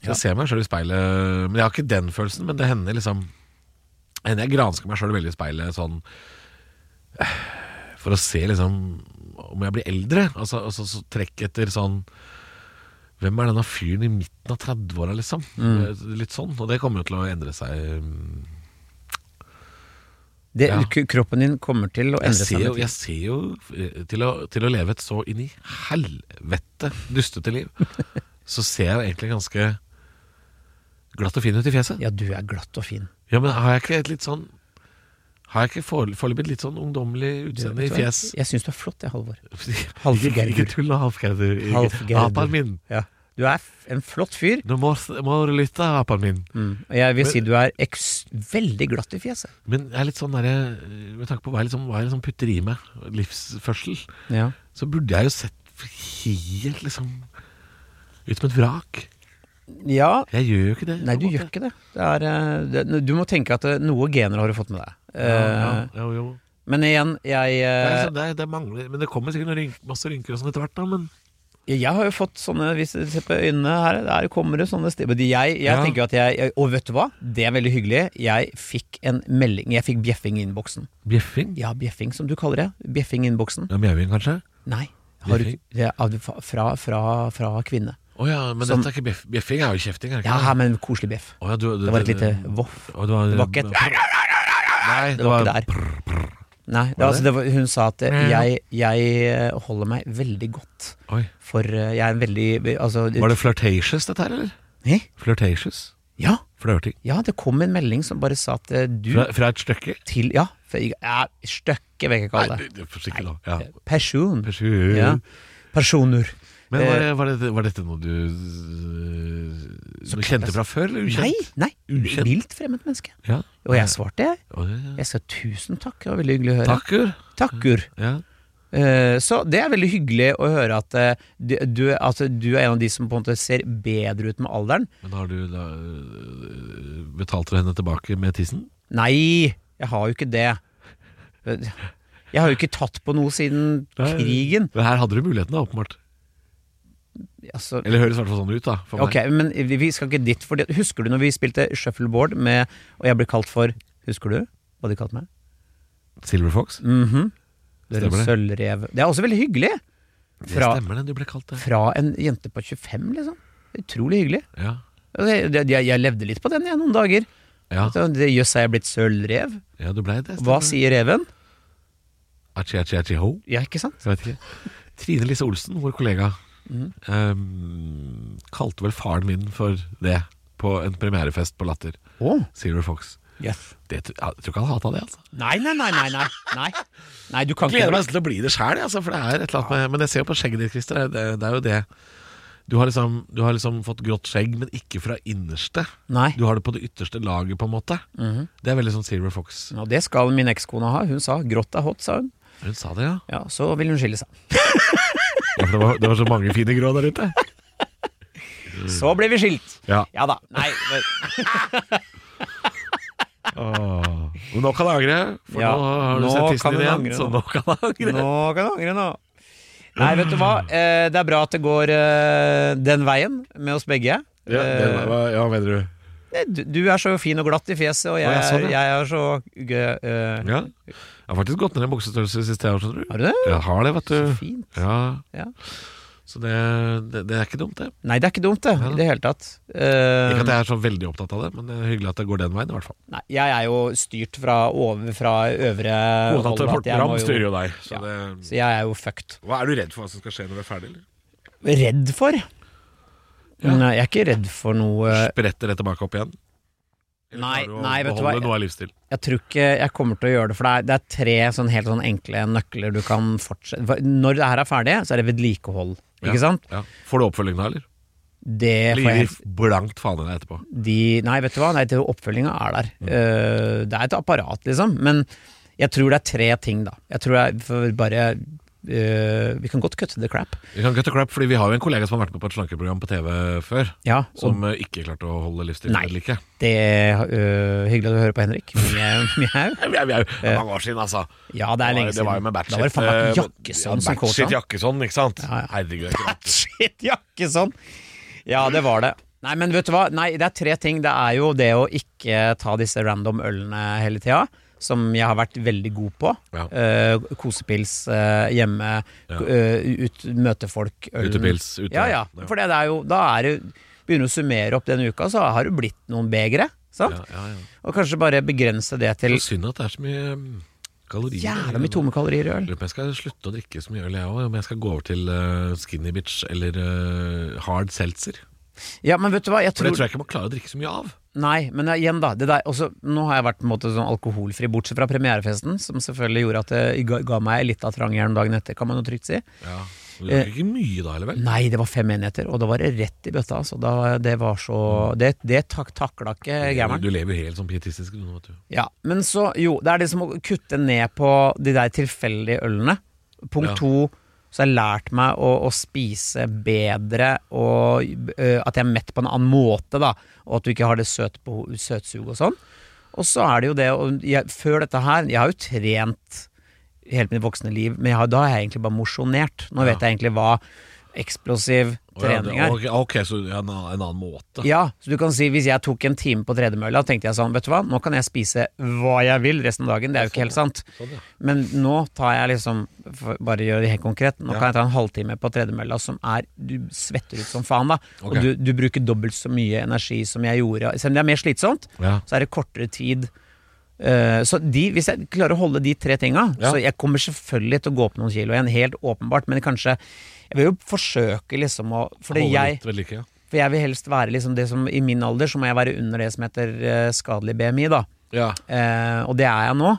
[SPEAKER 2] Så Jeg ser meg sjøl i speilet, men jeg har ikke den følelsen. Men det hender liksom hender jeg gransker meg sjøl veldig i speilet sånn eh, For å se liksom om jeg blir eldre. Altså, altså så trekk etter sånn hvem er denne fyren i midten av 30-åra, liksom? Eh, Litt sånn. Og det kommer jo til å endre seg mm,
[SPEAKER 3] Det,
[SPEAKER 2] Ja.
[SPEAKER 3] k- Kroppen din kommer til å
[SPEAKER 2] Jeg
[SPEAKER 3] endre
[SPEAKER 2] ser
[SPEAKER 3] seg.
[SPEAKER 2] jo,
[SPEAKER 3] med
[SPEAKER 2] jeg ser jo eh, til, å, til å leve et så inn i helvete dustete liv,
[SPEAKER 3] (laughs)
[SPEAKER 2] så ser jeg jo egentlig ganske glatt og fin ut i
[SPEAKER 3] tiden.
[SPEAKER 2] fjeset.
[SPEAKER 3] Ja, du er glatt og fin.
[SPEAKER 2] Ja, men har jeg ikke et litt sånn Har jeg ikke forel- foreløpig et litt sånn ungdommelig
[SPEAKER 3] Du,
[SPEAKER 2] utseende i
[SPEAKER 3] vet du hva?
[SPEAKER 2] fjes?
[SPEAKER 3] Jeg syns du er flott, jeg, Halvor.
[SPEAKER 2] Ikke
[SPEAKER 3] Halvgerdur.
[SPEAKER 2] ikke tull med halvgerdur. Ikke-
[SPEAKER 3] Halvgerdur.
[SPEAKER 2] Apen min.
[SPEAKER 3] Ja. Du er f- en flott fyr.
[SPEAKER 2] Nå må, må du lytte, apen min.
[SPEAKER 3] Og jeg vil si du er eks veldig glatt i fjeset.
[SPEAKER 2] Men jeg er litt sånn derre eh, Med tanke på hva jeg liksom, hva jeg liksom putter i meg, livsførsel,
[SPEAKER 3] Ja.
[SPEAKER 2] så burde jeg jo sett helt liksom ut som et vrak. Jeg gjør jo ikke det.
[SPEAKER 3] Nei, du gjør ikke det. det, er, eh, det du må tenke at eh, noe gener har du fått med deg.
[SPEAKER 2] det. Ja, ja,
[SPEAKER 3] Eh,
[SPEAKER 2] jo, jo.
[SPEAKER 3] Men igjen, jeg
[SPEAKER 2] Det, er
[SPEAKER 3] eh,
[SPEAKER 2] liksom, det, er- det mangler Men det kommer sikkert noen rynk, masse rynker og sånn etter hvert, da, men
[SPEAKER 3] Jeg jeg har jo fått sånne Hvis du ser på øynene her, der kommer det sånne stemmer. Jeg, jeg
[SPEAKER 2] Ja.
[SPEAKER 3] tenker jo at jeg, jeg Og vet du hva? Det er veldig hyggelig. Jeg fikk en melding. Jeg fikk bjeffing i innboksen.
[SPEAKER 2] Bjeffing?
[SPEAKER 3] Ja, bjeffing, som du kaller det. Bjeffing i innboksen.
[SPEAKER 2] Ja, Mjauing, kanskje?
[SPEAKER 3] Nei. Har du,
[SPEAKER 2] Bjeffing?
[SPEAKER 3] det er av- fra, fra, fra kvinne.
[SPEAKER 2] Å ja, men
[SPEAKER 3] Som-
[SPEAKER 2] dette er ikke bjeff, bjeffing, er jo kjefting, er det
[SPEAKER 3] Ja,
[SPEAKER 2] ikke?
[SPEAKER 3] men koselig bjeff.
[SPEAKER 2] Å ja, du, du,
[SPEAKER 3] Det var et
[SPEAKER 2] du-
[SPEAKER 3] lite voff.
[SPEAKER 2] Å, det var,
[SPEAKER 3] Det var ikke et
[SPEAKER 2] Nei,
[SPEAKER 3] Det var ikke der. Nei,
[SPEAKER 2] Var
[SPEAKER 3] det,
[SPEAKER 2] det
[SPEAKER 3] altså, det var, hun sa at eh, jeg, jeg eh, holder meg veldig godt
[SPEAKER 2] Oi.
[SPEAKER 3] for eh, Jeg er en veldig altså,
[SPEAKER 2] Var det flirtatious, dette her, eller?
[SPEAKER 3] Hæ?
[SPEAKER 2] Flirtatious?
[SPEAKER 3] Ja,
[SPEAKER 2] Flørting.
[SPEAKER 3] ja, det kom en melding som bare sa at eh, du
[SPEAKER 2] Fra, fra et stykke?
[SPEAKER 3] til Ja, for, ja støkke vil jeg ikke kalle det.
[SPEAKER 2] Nei, du- forsiktig nå. Ja.
[SPEAKER 3] Person.
[SPEAKER 2] Person.
[SPEAKER 3] Ja. Personer.
[SPEAKER 2] Men var, det- var, det, var dette noe du øh, Du kjente fra før, eller
[SPEAKER 3] Nei,
[SPEAKER 2] ukjent?
[SPEAKER 3] nei.
[SPEAKER 2] Ukjent.
[SPEAKER 3] Vilt fremmed menneske.
[SPEAKER 2] Ja.
[SPEAKER 3] Og jeg svarte, jeg.
[SPEAKER 2] Å, ja, ja.
[SPEAKER 3] Jeg sa tusen takk, det var veldig hyggelig å høre.
[SPEAKER 2] Takker.
[SPEAKER 3] Takkur.
[SPEAKER 2] Ja.
[SPEAKER 3] Eh, Så det er veldig hyggelig å høre at eh, du, du, altså, du er en av de som på en måte ser bedre ut med alderen.
[SPEAKER 2] Men har du da øh, Betalt du henne tilbake med tissen?
[SPEAKER 3] Nei, jeg har jo ikke det. Jeg har jo ikke tatt på noe siden krigen.
[SPEAKER 2] Men her hadde du muligheten, da, åpenbart.
[SPEAKER 3] Altså,
[SPEAKER 2] Eller høres i hvert fall sånn ut, da. For
[SPEAKER 3] ok, men vi vi skal ikke dit. Fordi, husker du når vi spilte shuffleboard med Og jeg ble kalt for Husker du hva de kalte meg?
[SPEAKER 2] meg. Silver Fox?
[SPEAKER 3] Mhm. Det er en
[SPEAKER 2] Stemmer det?
[SPEAKER 3] Sølvrev. Det er også veldig hyggelig! Fra,
[SPEAKER 2] Det stemmer det, du ble kalt det.
[SPEAKER 3] fra en jente på 25, liksom. Utrolig hyggelig.
[SPEAKER 2] Ja.
[SPEAKER 3] Og det- det- Altså, Jeg, jeg levde litt på den jeg, noen dager.
[SPEAKER 2] Ja,
[SPEAKER 3] Så det- Jøss, er jeg blitt sølvrev?
[SPEAKER 2] ja du ble det. stemmer
[SPEAKER 3] Hva
[SPEAKER 2] det.
[SPEAKER 3] sier reven?
[SPEAKER 2] Achi, achi, achi, ho.
[SPEAKER 3] Ja, ikke sant?
[SPEAKER 2] Jeg vet ikke. Trine Lise Olsen, vår kollega,
[SPEAKER 3] Mhm.
[SPEAKER 2] eh, kalte vel faren min for det på en premierefest på Latter.
[SPEAKER 3] Å,
[SPEAKER 2] Silver Fox.
[SPEAKER 3] yes.
[SPEAKER 2] Det, tr- jeg tror ikke han hata det, altså.
[SPEAKER 3] Nei, nei, nei, nei. Nei, nei. nei du kan
[SPEAKER 2] Jeg gleder
[SPEAKER 3] ikke
[SPEAKER 2] meg til å bli det sjæl, altså, for det er et eller annet med Men jeg ser jo på skjegget ditt, Christer. Det, det er jo det. Du har, liksom, du har liksom fått grått skjegg, men ikke fra innerste.
[SPEAKER 3] Nei. Mhm.
[SPEAKER 2] Du har det på det ytterste laget, på en måte. Det er veldig sånn Silver Fox.
[SPEAKER 3] Og det skal min ekskone ha. Hun sa 'grått er hot', sa hun.
[SPEAKER 2] Hun sa det, ja.
[SPEAKER 3] Ja, Så vil hun skille seg.
[SPEAKER 2] ja for det var, det var så mange fine grå der ute. Mm.
[SPEAKER 3] Så ble vi skilt!
[SPEAKER 2] Ja.
[SPEAKER 3] Ja da. Nei,
[SPEAKER 2] (laughs)
[SPEAKER 3] men-
[SPEAKER 2] Åh. Men nå kan jeg angre, for
[SPEAKER 3] Ja,
[SPEAKER 2] nå har du
[SPEAKER 3] nå
[SPEAKER 2] sett tissen
[SPEAKER 3] kan
[SPEAKER 2] din
[SPEAKER 3] hun
[SPEAKER 2] igjen.
[SPEAKER 3] angre
[SPEAKER 2] så
[SPEAKER 3] nå.
[SPEAKER 2] nå kan jeg angre.
[SPEAKER 3] nå kan du angre, nå. Nei, vet du hva. Eh, Det er bra at det går eh, den veien med oss begge.
[SPEAKER 2] Ja, det,
[SPEAKER 3] Eh,
[SPEAKER 2] var- ja, mener du?
[SPEAKER 3] Nei, Du, du er så fin og glatt i fjeset, og jeg,
[SPEAKER 2] Å, jeg så
[SPEAKER 3] er,
[SPEAKER 2] det.
[SPEAKER 3] jeg er så gø- øh,
[SPEAKER 2] Ja. Jeg har faktisk gått ned i buksestørrelse siste jeg år, skjønner du.
[SPEAKER 3] Har du det?
[SPEAKER 2] Jeg har det, vet du.
[SPEAKER 3] Fint.
[SPEAKER 2] Ja.
[SPEAKER 3] Ja.
[SPEAKER 2] Så det, det, det er ikke dumt, det.
[SPEAKER 3] Nei, det er ikke dumt, det. I det hele tatt. Eh,
[SPEAKER 2] Ikke at jeg er så veldig opptatt av det, men det er hyggelig at det går den veien, i hvert fall.
[SPEAKER 3] Nei, jeg er jo styrt fra, over, fra øvre
[SPEAKER 2] Kona
[SPEAKER 3] hold,
[SPEAKER 2] til
[SPEAKER 3] at jeg
[SPEAKER 2] Morten
[SPEAKER 3] må
[SPEAKER 2] Ramm
[SPEAKER 3] jo-
[SPEAKER 2] styrer jo deg, så
[SPEAKER 3] Ja.
[SPEAKER 2] det
[SPEAKER 3] Så jeg er jo fucked.
[SPEAKER 2] Hva er du redd for hva som skal skje når du er ferdig, eller?
[SPEAKER 3] Redd for? Nei, jeg er ikke redd for noe
[SPEAKER 2] Spretter det tilbake opp igjen?
[SPEAKER 3] Nei,
[SPEAKER 2] klarer du å
[SPEAKER 3] nei, vet du
[SPEAKER 2] beholde
[SPEAKER 3] hva?
[SPEAKER 2] Noe av livsstil?
[SPEAKER 3] Jeg tror ikke jeg kommer til å gjøre det, for det er, det er tre sånn helt sånn enkle nøkler du kan fortsette for Når det her er ferdig, så er det vedlikehold,
[SPEAKER 2] Ja.
[SPEAKER 3] ikke sant?
[SPEAKER 2] Ja. Får du oppfølging da, eller?
[SPEAKER 3] Det får
[SPEAKER 2] Ligger
[SPEAKER 3] jeg
[SPEAKER 2] de blankt faen i deg etterpå?
[SPEAKER 3] de, Nei, vet du hva, nei, det- oppfølginga er der.
[SPEAKER 2] Mm.
[SPEAKER 3] Eh, det er et apparat, liksom. Men jeg tror det er tre ting, da. Jeg tror jeg får bare eh, Vi kan godt kutte the crap.
[SPEAKER 2] Vi kan cut og crap, fordi vi har jo en kollega som har vært med på et slankeprogram på TV før,
[SPEAKER 3] Ja, og
[SPEAKER 2] som eh, ikke klarte å holde livsstilen
[SPEAKER 3] Nei.
[SPEAKER 2] ved like.
[SPEAKER 3] det eh, Hyggelig at du hører på, Henrik. Mjau, (laughs) mjau.
[SPEAKER 2] Det er mange år siden, altså.
[SPEAKER 3] Ja, Eh, det er lenge siden.
[SPEAKER 2] Det var jo med Batshit.
[SPEAKER 3] Da var det faen meg
[SPEAKER 2] eh,
[SPEAKER 3] Jakkesson
[SPEAKER 2] ja,
[SPEAKER 3] som coacha.
[SPEAKER 2] Batshit Jakkesson, ikke sant?
[SPEAKER 3] Ja, ja.
[SPEAKER 2] Herregud. det er
[SPEAKER 3] (laughs)
[SPEAKER 2] ikke rart.
[SPEAKER 3] Shit, Jakkesson! Ja, det var det. Nei, men vet du hva? Nei, det er tre ting. Det er jo det å ikke ta disse random ølene hele tida, som jeg har vært veldig god på.
[SPEAKER 2] Ja.
[SPEAKER 3] Eh, kosepils eh, hjemme,
[SPEAKER 2] Ja.
[SPEAKER 3] eh, ut, møte folk, ølen
[SPEAKER 2] Utepils, ute.
[SPEAKER 3] Ja, ja. For det er jo Da er det Begynner du å summere opp denne uka, så har du blitt noen begre. Sant?
[SPEAKER 2] Ja, ja, ja.
[SPEAKER 3] Og kanskje bare begrense det
[SPEAKER 2] Det
[SPEAKER 3] til
[SPEAKER 2] er synd at det er så mye mm, kalorier.
[SPEAKER 3] jævla mye tomme kalorier i øl.
[SPEAKER 2] Lurer på om jeg skal slutte å drikke så mye øl, jeg òg. Om jeg skal gå over til eh, skinny bitch eller eh, hard seltzer.
[SPEAKER 3] Ja, men vet du hva, jeg
[SPEAKER 2] For det
[SPEAKER 3] tror
[SPEAKER 2] tror jeg ikke man klarer å drikke så mye av.
[SPEAKER 3] Nei, men igjen da det der, også, Nå har jeg vært på en måte sånn alkoholfri Bortsett fra premierefesten Som selvfølgelig gjorde at det ga, ga meg litt av trangjern dagen etter Kan man jo trygt si
[SPEAKER 2] Ja. Du
[SPEAKER 3] Eh,
[SPEAKER 2] drikker ikke mye da, eller vel?
[SPEAKER 3] Nei, det var fem enheter Og da var det rett i bøtta altså. da, Det var så Det, det tak, takla ikke
[SPEAKER 2] Du
[SPEAKER 3] gærmeren
[SPEAKER 2] lever jo helt sånn pietistisk du nå, vet du.
[SPEAKER 3] ja, Men så, jo, det er det som å kutte ned på De der tilfeldige ølene Punkt
[SPEAKER 2] Ja.
[SPEAKER 3] to Så har jeg lært meg å, å spise bedre Og øh, at jeg er mett på en annen måte da Og at du ikke har det søt på, søtsug og sånn Og så er det jo det og jeg, Før dette her, jeg har jo trent Helt mitt voksne liv Men jeg har, da har jeg egentlig bare mosjonert Nå vet jeg egentlig hva eksplosiv
[SPEAKER 2] Å, ja, det-
[SPEAKER 3] trening er
[SPEAKER 2] ok, ok, så ja, en, annen, en annen måte.
[SPEAKER 3] ja, så du kan si Hvis jeg tok en time på tredemølla, tenkte jeg sånn Vet du hva, nå kan jeg spise hva jeg vil resten av dagen. Det er jo ikke helt sant.
[SPEAKER 2] Sånn, ja.
[SPEAKER 3] Men nå tar jeg liksom for, Bare gjør det helt konkret. Nå
[SPEAKER 2] Ja.
[SPEAKER 3] kan jeg ta en halvtime på tredemølla som er Du svetter ut som faen, da.
[SPEAKER 2] Ok.
[SPEAKER 3] Og du, du bruker dobbelt så mye energi som jeg gjorde. Selv om det er mer slitsomt,
[SPEAKER 2] Ja.
[SPEAKER 3] så er det kortere tid. Eh, så de, hvis jeg klarer å holde de tre tinga
[SPEAKER 2] Ja.
[SPEAKER 3] Så jeg kommer selvfølgelig til å gå opp noen kilo igjen, helt åpenbart, men kanskje Jeg vil jo forsøke liksom å Fordi
[SPEAKER 2] Holder
[SPEAKER 3] jeg
[SPEAKER 2] litt ved like, ja.
[SPEAKER 3] for jeg vil helst være liksom det som I min alder så må jeg være under det som heter eh, skadelig BMI, da.
[SPEAKER 2] ja.
[SPEAKER 3] Eh, og det er jeg nå.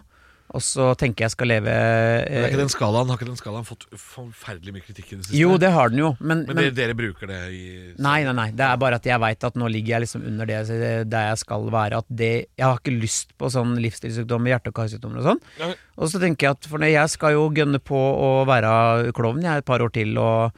[SPEAKER 3] Og så tenker jeg skal leve
[SPEAKER 2] Men er
[SPEAKER 3] eh,
[SPEAKER 2] ikke den skalaen, har ikke den skalaen fått forferdelig mye kritikk i det siste?
[SPEAKER 3] Jo, det har den jo, men,
[SPEAKER 2] men,
[SPEAKER 3] men
[SPEAKER 2] dere, dere bruker det i
[SPEAKER 3] Nei, nei, nei. Det er bare at jeg veit at nå ligger jeg liksom under det der jeg skal være. At det Jeg har ikke lyst på sånn livsstilssykdommer, hjerte- og karsykdommer og sånn.
[SPEAKER 2] Nei.
[SPEAKER 3] Og så tenker jeg at for når jeg skal jo gønne på å være klovn jeg et par år til og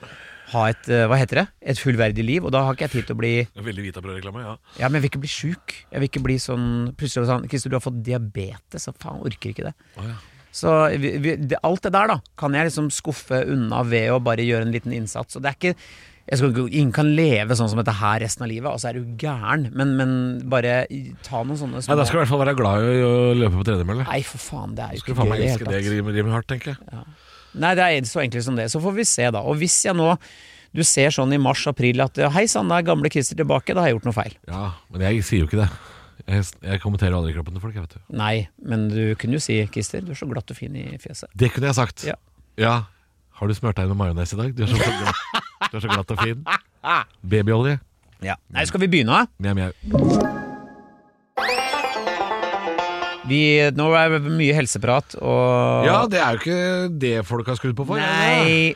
[SPEAKER 3] ha et eh, Hva heter det? Et fullverdig liv. Og da har ikke jeg tid til å bli
[SPEAKER 2] Veldig Vitabrød-reklame, ja.
[SPEAKER 3] Ja, men jeg vil ikke bli sjuk. Jeg vil ikke bli sånn Plutselig sånn Christer, du har fått diabetes. Og faen, orker ikke det.
[SPEAKER 2] Å, ja.
[SPEAKER 3] Så vi, vi, det, alt det der, da, kan jeg liksom skuffe unna ved å bare gjøre en liten innsats. Og det er ikke jeg skal, ikke- Ingen kan leve sånn som dette her resten av livet, altså er du gæren. Men, men bare i- ta noen sånne
[SPEAKER 2] Nei,
[SPEAKER 3] små
[SPEAKER 2] Da skal du i hvert fall være glad i å å løpe på tredemølle.
[SPEAKER 3] Nei, for faen, det er
[SPEAKER 2] Da
[SPEAKER 3] jo
[SPEAKER 2] Skal
[SPEAKER 3] ikke
[SPEAKER 2] du faen
[SPEAKER 3] gøy i
[SPEAKER 2] meg
[SPEAKER 3] det
[SPEAKER 2] elske
[SPEAKER 3] hele
[SPEAKER 2] det
[SPEAKER 3] tatt.
[SPEAKER 2] rimer, rimer hardt, tenker jeg.
[SPEAKER 3] Nei, det er så enkelt som det. Så får vi se, da. Og hvis jeg nå du ser sånn i mars-april at hei sann, da er gamle Christer tilbake, da har jeg gjort noe feil.
[SPEAKER 2] Ja, Men jeg sier jo ikke det. Jeg, jeg kommenterer jo aldri kroppen til folk. jeg vet du
[SPEAKER 3] Nei, men du kunne jo si, Christer, du er så glatt og fin i fjeset.
[SPEAKER 2] Det kunne jeg sagt.
[SPEAKER 3] Ja.
[SPEAKER 2] Ja. Har du smurt deg inn med majones i dag? Du er så (laughs) glatt, du er så glatt og fin. Babyolje.
[SPEAKER 3] Ja. Nei, skal vi begynne? da?
[SPEAKER 2] Mjau, mjau.
[SPEAKER 3] Vi, nå er det mye helseprat og
[SPEAKER 2] Ja, det er jo ikke det folk har skrudd på for.
[SPEAKER 3] Nei,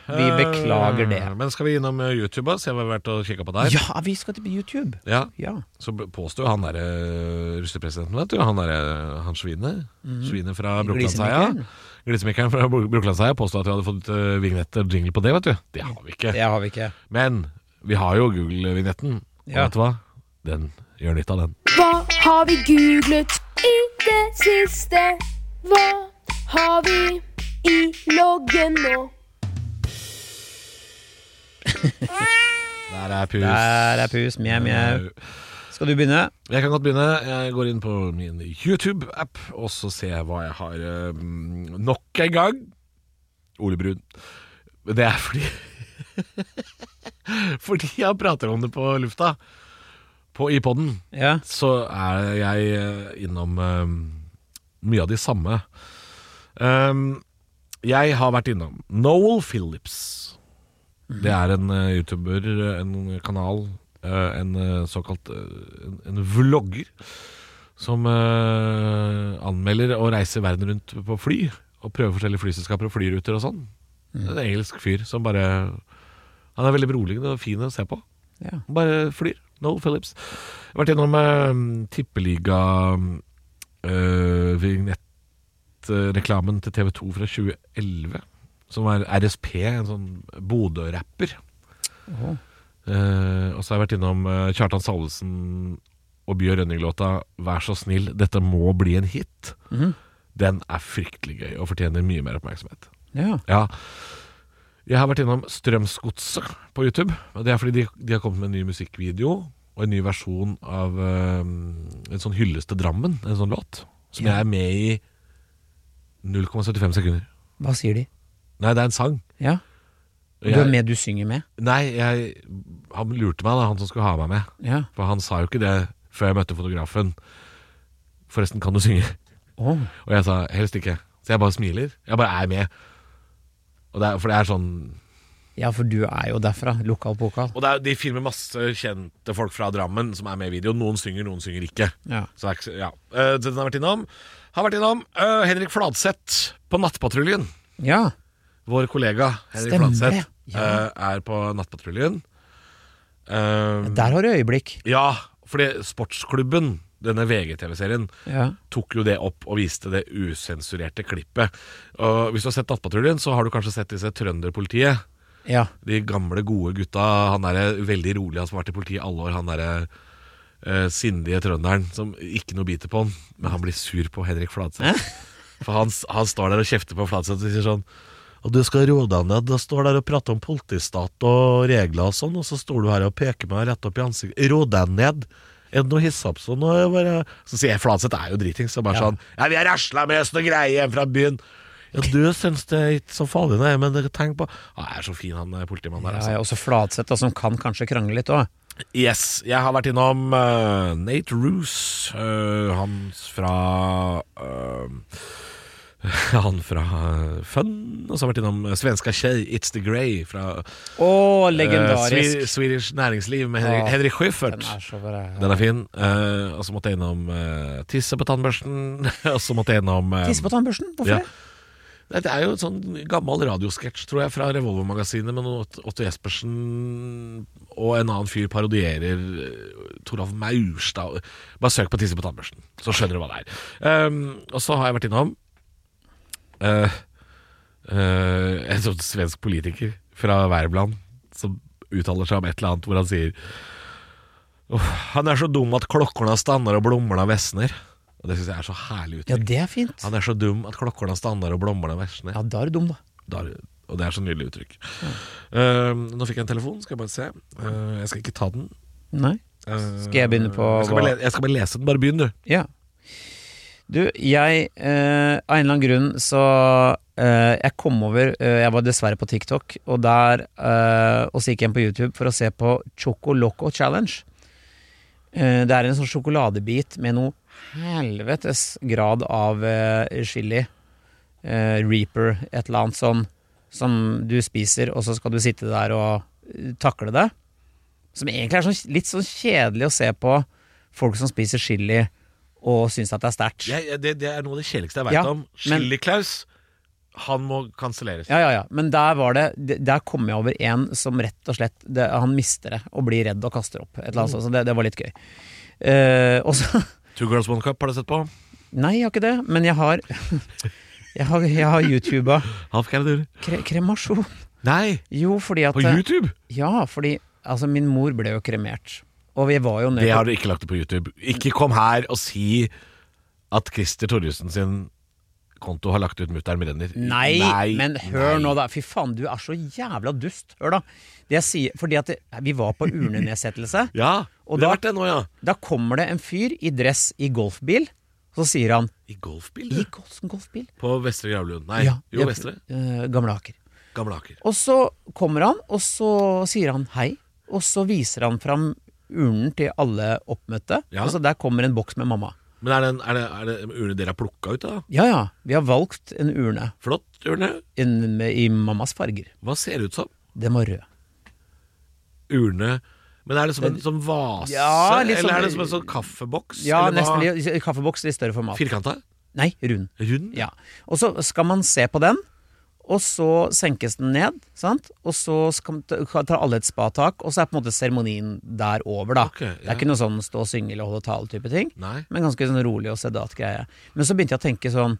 [SPEAKER 2] ja.
[SPEAKER 3] vi beklager det.
[SPEAKER 2] Eh, Men skal vi innom eh, YouTube og se hva vi har vært og kikka på der?
[SPEAKER 3] Ja, vi skal til YouTube.
[SPEAKER 2] Ja.
[SPEAKER 3] Ja.
[SPEAKER 2] Så b- påstår jo han derre eh, russepresidenten, vet du. Han derre eh, han svinet. Svinet fra Brokelandsheia.
[SPEAKER 3] Glisemikeren.
[SPEAKER 2] Glisemikeren fra Bro- Brokelandsheia påstår at vi hadde fått eh, vignett og jingle på det, vet du. Det har vi ikke.
[SPEAKER 3] Det har vi ikke.
[SPEAKER 2] Men vi har jo Google-vignetten. Og
[SPEAKER 3] Ja.
[SPEAKER 2] vet du hva? Den gjør nytte av den.
[SPEAKER 1] Hva har vi googlet i det siste? Hva har vi i loggen nå?
[SPEAKER 2] Der er Eh, pus.
[SPEAKER 3] Der er pus. Mjau, mjau. Skal du begynne?
[SPEAKER 2] Jeg kan godt begynne. Jeg går inn på min YouTube-app, og så ser jeg hva jeg har ehm, eh, Nok en gang Ole Brun. Men Det er fordi (laughs) Fordi jeg prater om det på lufta, på, i poden,
[SPEAKER 3] Ja.
[SPEAKER 2] så er jeg eh, innom eh, mye av de samme. Ehm, jeg har vært innom Noel Phillips. Det er en eh, youtuber, eh, en kanal, eh, en eh, såkalt eh, en, en vlogger som eh, anmelder å reise verden rundt på fly. Og prøver forskjellige flyselskaper og flyruter og sånn. En engelsk fyr som bare Han er veldig beroligende og fin å se på.
[SPEAKER 3] ja.
[SPEAKER 2] Han Bare flyr. Noel Phillips. Jeg har vært gjennom eh, tippeliga-vignettreklamen eh, til TV 2 fra 2011. Som er RSP, en sånn Bodø-rapper.
[SPEAKER 3] Åh.
[SPEAKER 2] Eh, og så har jeg vært innom eh, Kjartan Salvesen og Bjørn Rønning-låta 'Vær så snill, dette må bli en hit'.
[SPEAKER 3] Mhm.
[SPEAKER 2] Den er fryktelig gøy og fortjener mye mer oppmerksomhet.
[SPEAKER 3] ja.
[SPEAKER 2] Ja Jeg har vært innom Strømsgodset på YouTube og Det er fordi de, de har kommet med en ny musikkvideo Og en ny versjon av eh, En sånn hylleste Drammen En sånn låt Som
[SPEAKER 3] Ja.
[SPEAKER 2] jeg er med i 0,75 sekunder
[SPEAKER 3] Hva sier de?
[SPEAKER 2] Nei, det er en sang
[SPEAKER 3] Ja.
[SPEAKER 2] Og
[SPEAKER 3] Du er
[SPEAKER 2] jeg-
[SPEAKER 3] med, du synger med?
[SPEAKER 2] Nei, jeg, han lurte meg da Han som skulle ha meg med
[SPEAKER 3] Ja.
[SPEAKER 2] For han sa jo ikke det før jeg møtte fotografen Forresten, kan du synge?
[SPEAKER 3] Åh.
[SPEAKER 2] Og jeg sa, helst ikke Så jeg bare smiler Jeg bare er med Og det er, For det er sånn
[SPEAKER 3] ja, for du er jo derfra. Lokal pokal.
[SPEAKER 2] Og det er, de filmer masse kjente folk fra Drammen som er med i videoen. Noen synger, noen synger ikke.
[SPEAKER 3] Ja.
[SPEAKER 2] Så det er, ikke så- ja. Eh, så den har vært innom. Har vært innom eh, Henrik Fladseth på Nattpatruljen.
[SPEAKER 3] ja.
[SPEAKER 2] Vår kollega Henrik
[SPEAKER 3] Stemmer,
[SPEAKER 2] Fladseth
[SPEAKER 3] ja.
[SPEAKER 2] eh, er på Nattpatruljen. Eh,
[SPEAKER 3] Der har du øyeblikk.
[SPEAKER 2] ja, fordi Sportsklubben, denne VGTV-serien,
[SPEAKER 3] Ja.
[SPEAKER 2] tok jo det opp og viste det usensurerte klippet. Og hvis du har sett Nattpatruljen, så har du kanskje sett disse trønderpolitiet.
[SPEAKER 3] Ja.
[SPEAKER 2] De gamle, gode gutta. Han derre veldig rolig, han som har vært i politiet i alle år. Han derre eh, sindige trønderen som ikke noe biter på han, men han blir sur på Henrik Fladseth. For han, s- han står der og kjefter på Fladseth og sier sånn og du skal roe deg ned, da står der og prater om politistat og regler og sånn, og så står du her og peker meg rett opp i ansiktet. Ro deg ned! Er det noe hissopp sånn? Og jeg bare... Så sier jeg, Fladseth er jo driting, så bare
[SPEAKER 3] Ja.
[SPEAKER 2] sånn, ja, vi har rasla med oss noe greier hjemme fra byen. Ja, du syns det er ikke så farlig, nei, men tenk på Han er så fin, han eh, politimannen der.
[SPEAKER 3] ja,
[SPEAKER 2] altså.
[SPEAKER 3] ja. Også Fladseth, da, som kan kanskje krangle litt òg.
[SPEAKER 2] Yes, jeg har vært innom eh, Nate Roos eh, Han fra eh, (laughs) Han fra eh, Fun Og så har jeg vært innom eh, svenska tjej It's the Grey Fra
[SPEAKER 3] Å,
[SPEAKER 2] eh,
[SPEAKER 3] legendarisk!
[SPEAKER 2] Swe- Swedish Næringsliv Med Henrik,
[SPEAKER 3] Ja.
[SPEAKER 2] Henrik Schyffert
[SPEAKER 3] Den er så bra.
[SPEAKER 2] Den er fin Eh, Og så måtte jeg innom eh, Tisse på tannbørsten (laughs) Og så måtte jeg innom eh,
[SPEAKER 3] Tisse på tannbørsten?
[SPEAKER 2] ja.
[SPEAKER 3] Hvorfor det?
[SPEAKER 2] Nei, Det er jo en sånn gammel radiosketsj, tror jeg, fra Revolver-magasinet, men Ott- Otto Jespersen og en annen fyr parodierer eh, Toralf Maurstad. Bare søk på 'Tisse på tannbørsten', så skjønner du hva det er. Um, og så har jeg vært innom eh, eh, en sånn svensk politiker fra Värmland som uttaler seg om et eller annet hvor han sier «Åh, Han er så dum at klokkorna stannar og blommorna vessner. Og Det syns jeg er så herlig uttrykk.
[SPEAKER 3] Ja, det er fint.
[SPEAKER 2] Han er så dum at klokkorna stander og blommerne versene.
[SPEAKER 3] Ja, da er du dum, da.
[SPEAKER 2] Og det er så nydelig uttrykk. Eh, nå fikk jeg en telefon, skal jeg bare se. Eh, jeg skal ikke ta den.
[SPEAKER 3] Nei.
[SPEAKER 2] Eh,
[SPEAKER 3] Skal jeg begynne på
[SPEAKER 2] jeg skal, bare
[SPEAKER 3] hva-
[SPEAKER 2] le jeg skal bare lese den. Bare begynn, du.
[SPEAKER 3] Ja. Du, jeg eh, Av en eller annen grunn så eh, Jeg kom over eh, Jeg var dessverre på TikTok, og der eh, Og så gikk jeg inn på YouTube for å se på Choco Loco Challenge. Eh, det er en sånn sjokoladebit med noe helvetes grad av eh, chili. Eh, Reaper, et eller annet sånn som du spiser, og så skal du sitte der og eh, takle det. Som egentlig er sånn, litt sånn kjedelig å se på folk som spiser chili og syns at det er sterkt.
[SPEAKER 2] Jeg, jeg- det, det er noe av det kjedeligste jeg veit
[SPEAKER 3] Ja,
[SPEAKER 2] om.
[SPEAKER 3] men-
[SPEAKER 2] Chili-Klaus, han må kanselleres.
[SPEAKER 3] Ja, ja, ja. Men der var det de- Der kom jeg over en som rett og slett det, Han mister det og blir redd og kaster opp. Et eller annet, sånt, så det, det var litt gøy. Eh, og så (laughs)
[SPEAKER 2] Two Girls One Cup har du sett på?
[SPEAKER 3] Nei, jeg har ikke det, men jeg har Jeg har, jeg har YouTuba
[SPEAKER 2] Half Cavador.
[SPEAKER 3] kre, kremasjon.
[SPEAKER 2] Nei,
[SPEAKER 3] Jo, fordi at eh,
[SPEAKER 2] på YouTube!
[SPEAKER 3] Ja, fordi altså, min mor ble jo kremert. Og vi var jo nødt
[SPEAKER 2] Det har du ikke lagt det på YouTube. Ikke kom her og si at Christer Torjussen sin konto har lagt ut Mutter'n brenner.
[SPEAKER 3] Nei, men hør
[SPEAKER 2] nei.
[SPEAKER 3] nå da. Fy faen, du er så jævla dust. Hør da. Det jeg sier, fordi at det, vi var på urnenedsettelse.
[SPEAKER 2] Ja,
[SPEAKER 3] Og
[SPEAKER 2] det har
[SPEAKER 3] da-
[SPEAKER 2] vært det nå, ja.
[SPEAKER 3] Da kommer det en fyr i dress i golfbil. Så sier han
[SPEAKER 2] I golfbil?
[SPEAKER 3] I
[SPEAKER 2] du?
[SPEAKER 3] golf, golfbil?
[SPEAKER 2] På Vestre Gravlund. Nei, jo,
[SPEAKER 3] jeg-
[SPEAKER 2] Vestre.
[SPEAKER 3] eh, gamle Aker.
[SPEAKER 2] Gamle Aker.
[SPEAKER 3] Og så kommer han, og så sier han hei. Og så viser han fram urnen til alle oppmøtte.
[SPEAKER 2] Ja.
[SPEAKER 3] Og så der kommer en boks med mamma.
[SPEAKER 2] Men er det, en- er det, er det urne dere har plukka ut, da?
[SPEAKER 3] Ja ja, vi har valgt en urne
[SPEAKER 2] Flott urne.
[SPEAKER 3] en, med, i mammas farger.
[SPEAKER 2] Hva ser det ut som?
[SPEAKER 3] Den var rød.
[SPEAKER 2] Urne Men er det som en sånn vase?
[SPEAKER 3] Ja, litt sånn-
[SPEAKER 2] eller er det som en sånn kaffeboks?
[SPEAKER 3] Ja,
[SPEAKER 2] eller
[SPEAKER 3] nesten
[SPEAKER 2] hva?
[SPEAKER 3] litt- Kaffeboks i større format.
[SPEAKER 2] Firkanta?
[SPEAKER 3] Nei, rund.
[SPEAKER 2] Rund?
[SPEAKER 3] Ja. Og så skal man se på den, og så senkes den ned, sant? og så skal, tar alle et spatak, og så er på en måte seremonien der over, da.
[SPEAKER 2] Ok, ja.
[SPEAKER 3] Det er ikke noe sånn stå og synge eller holde tale-type ting,
[SPEAKER 2] Nei.
[SPEAKER 3] men ganske sånn rolig og sedat greie. Men så begynte jeg å tenke sånn,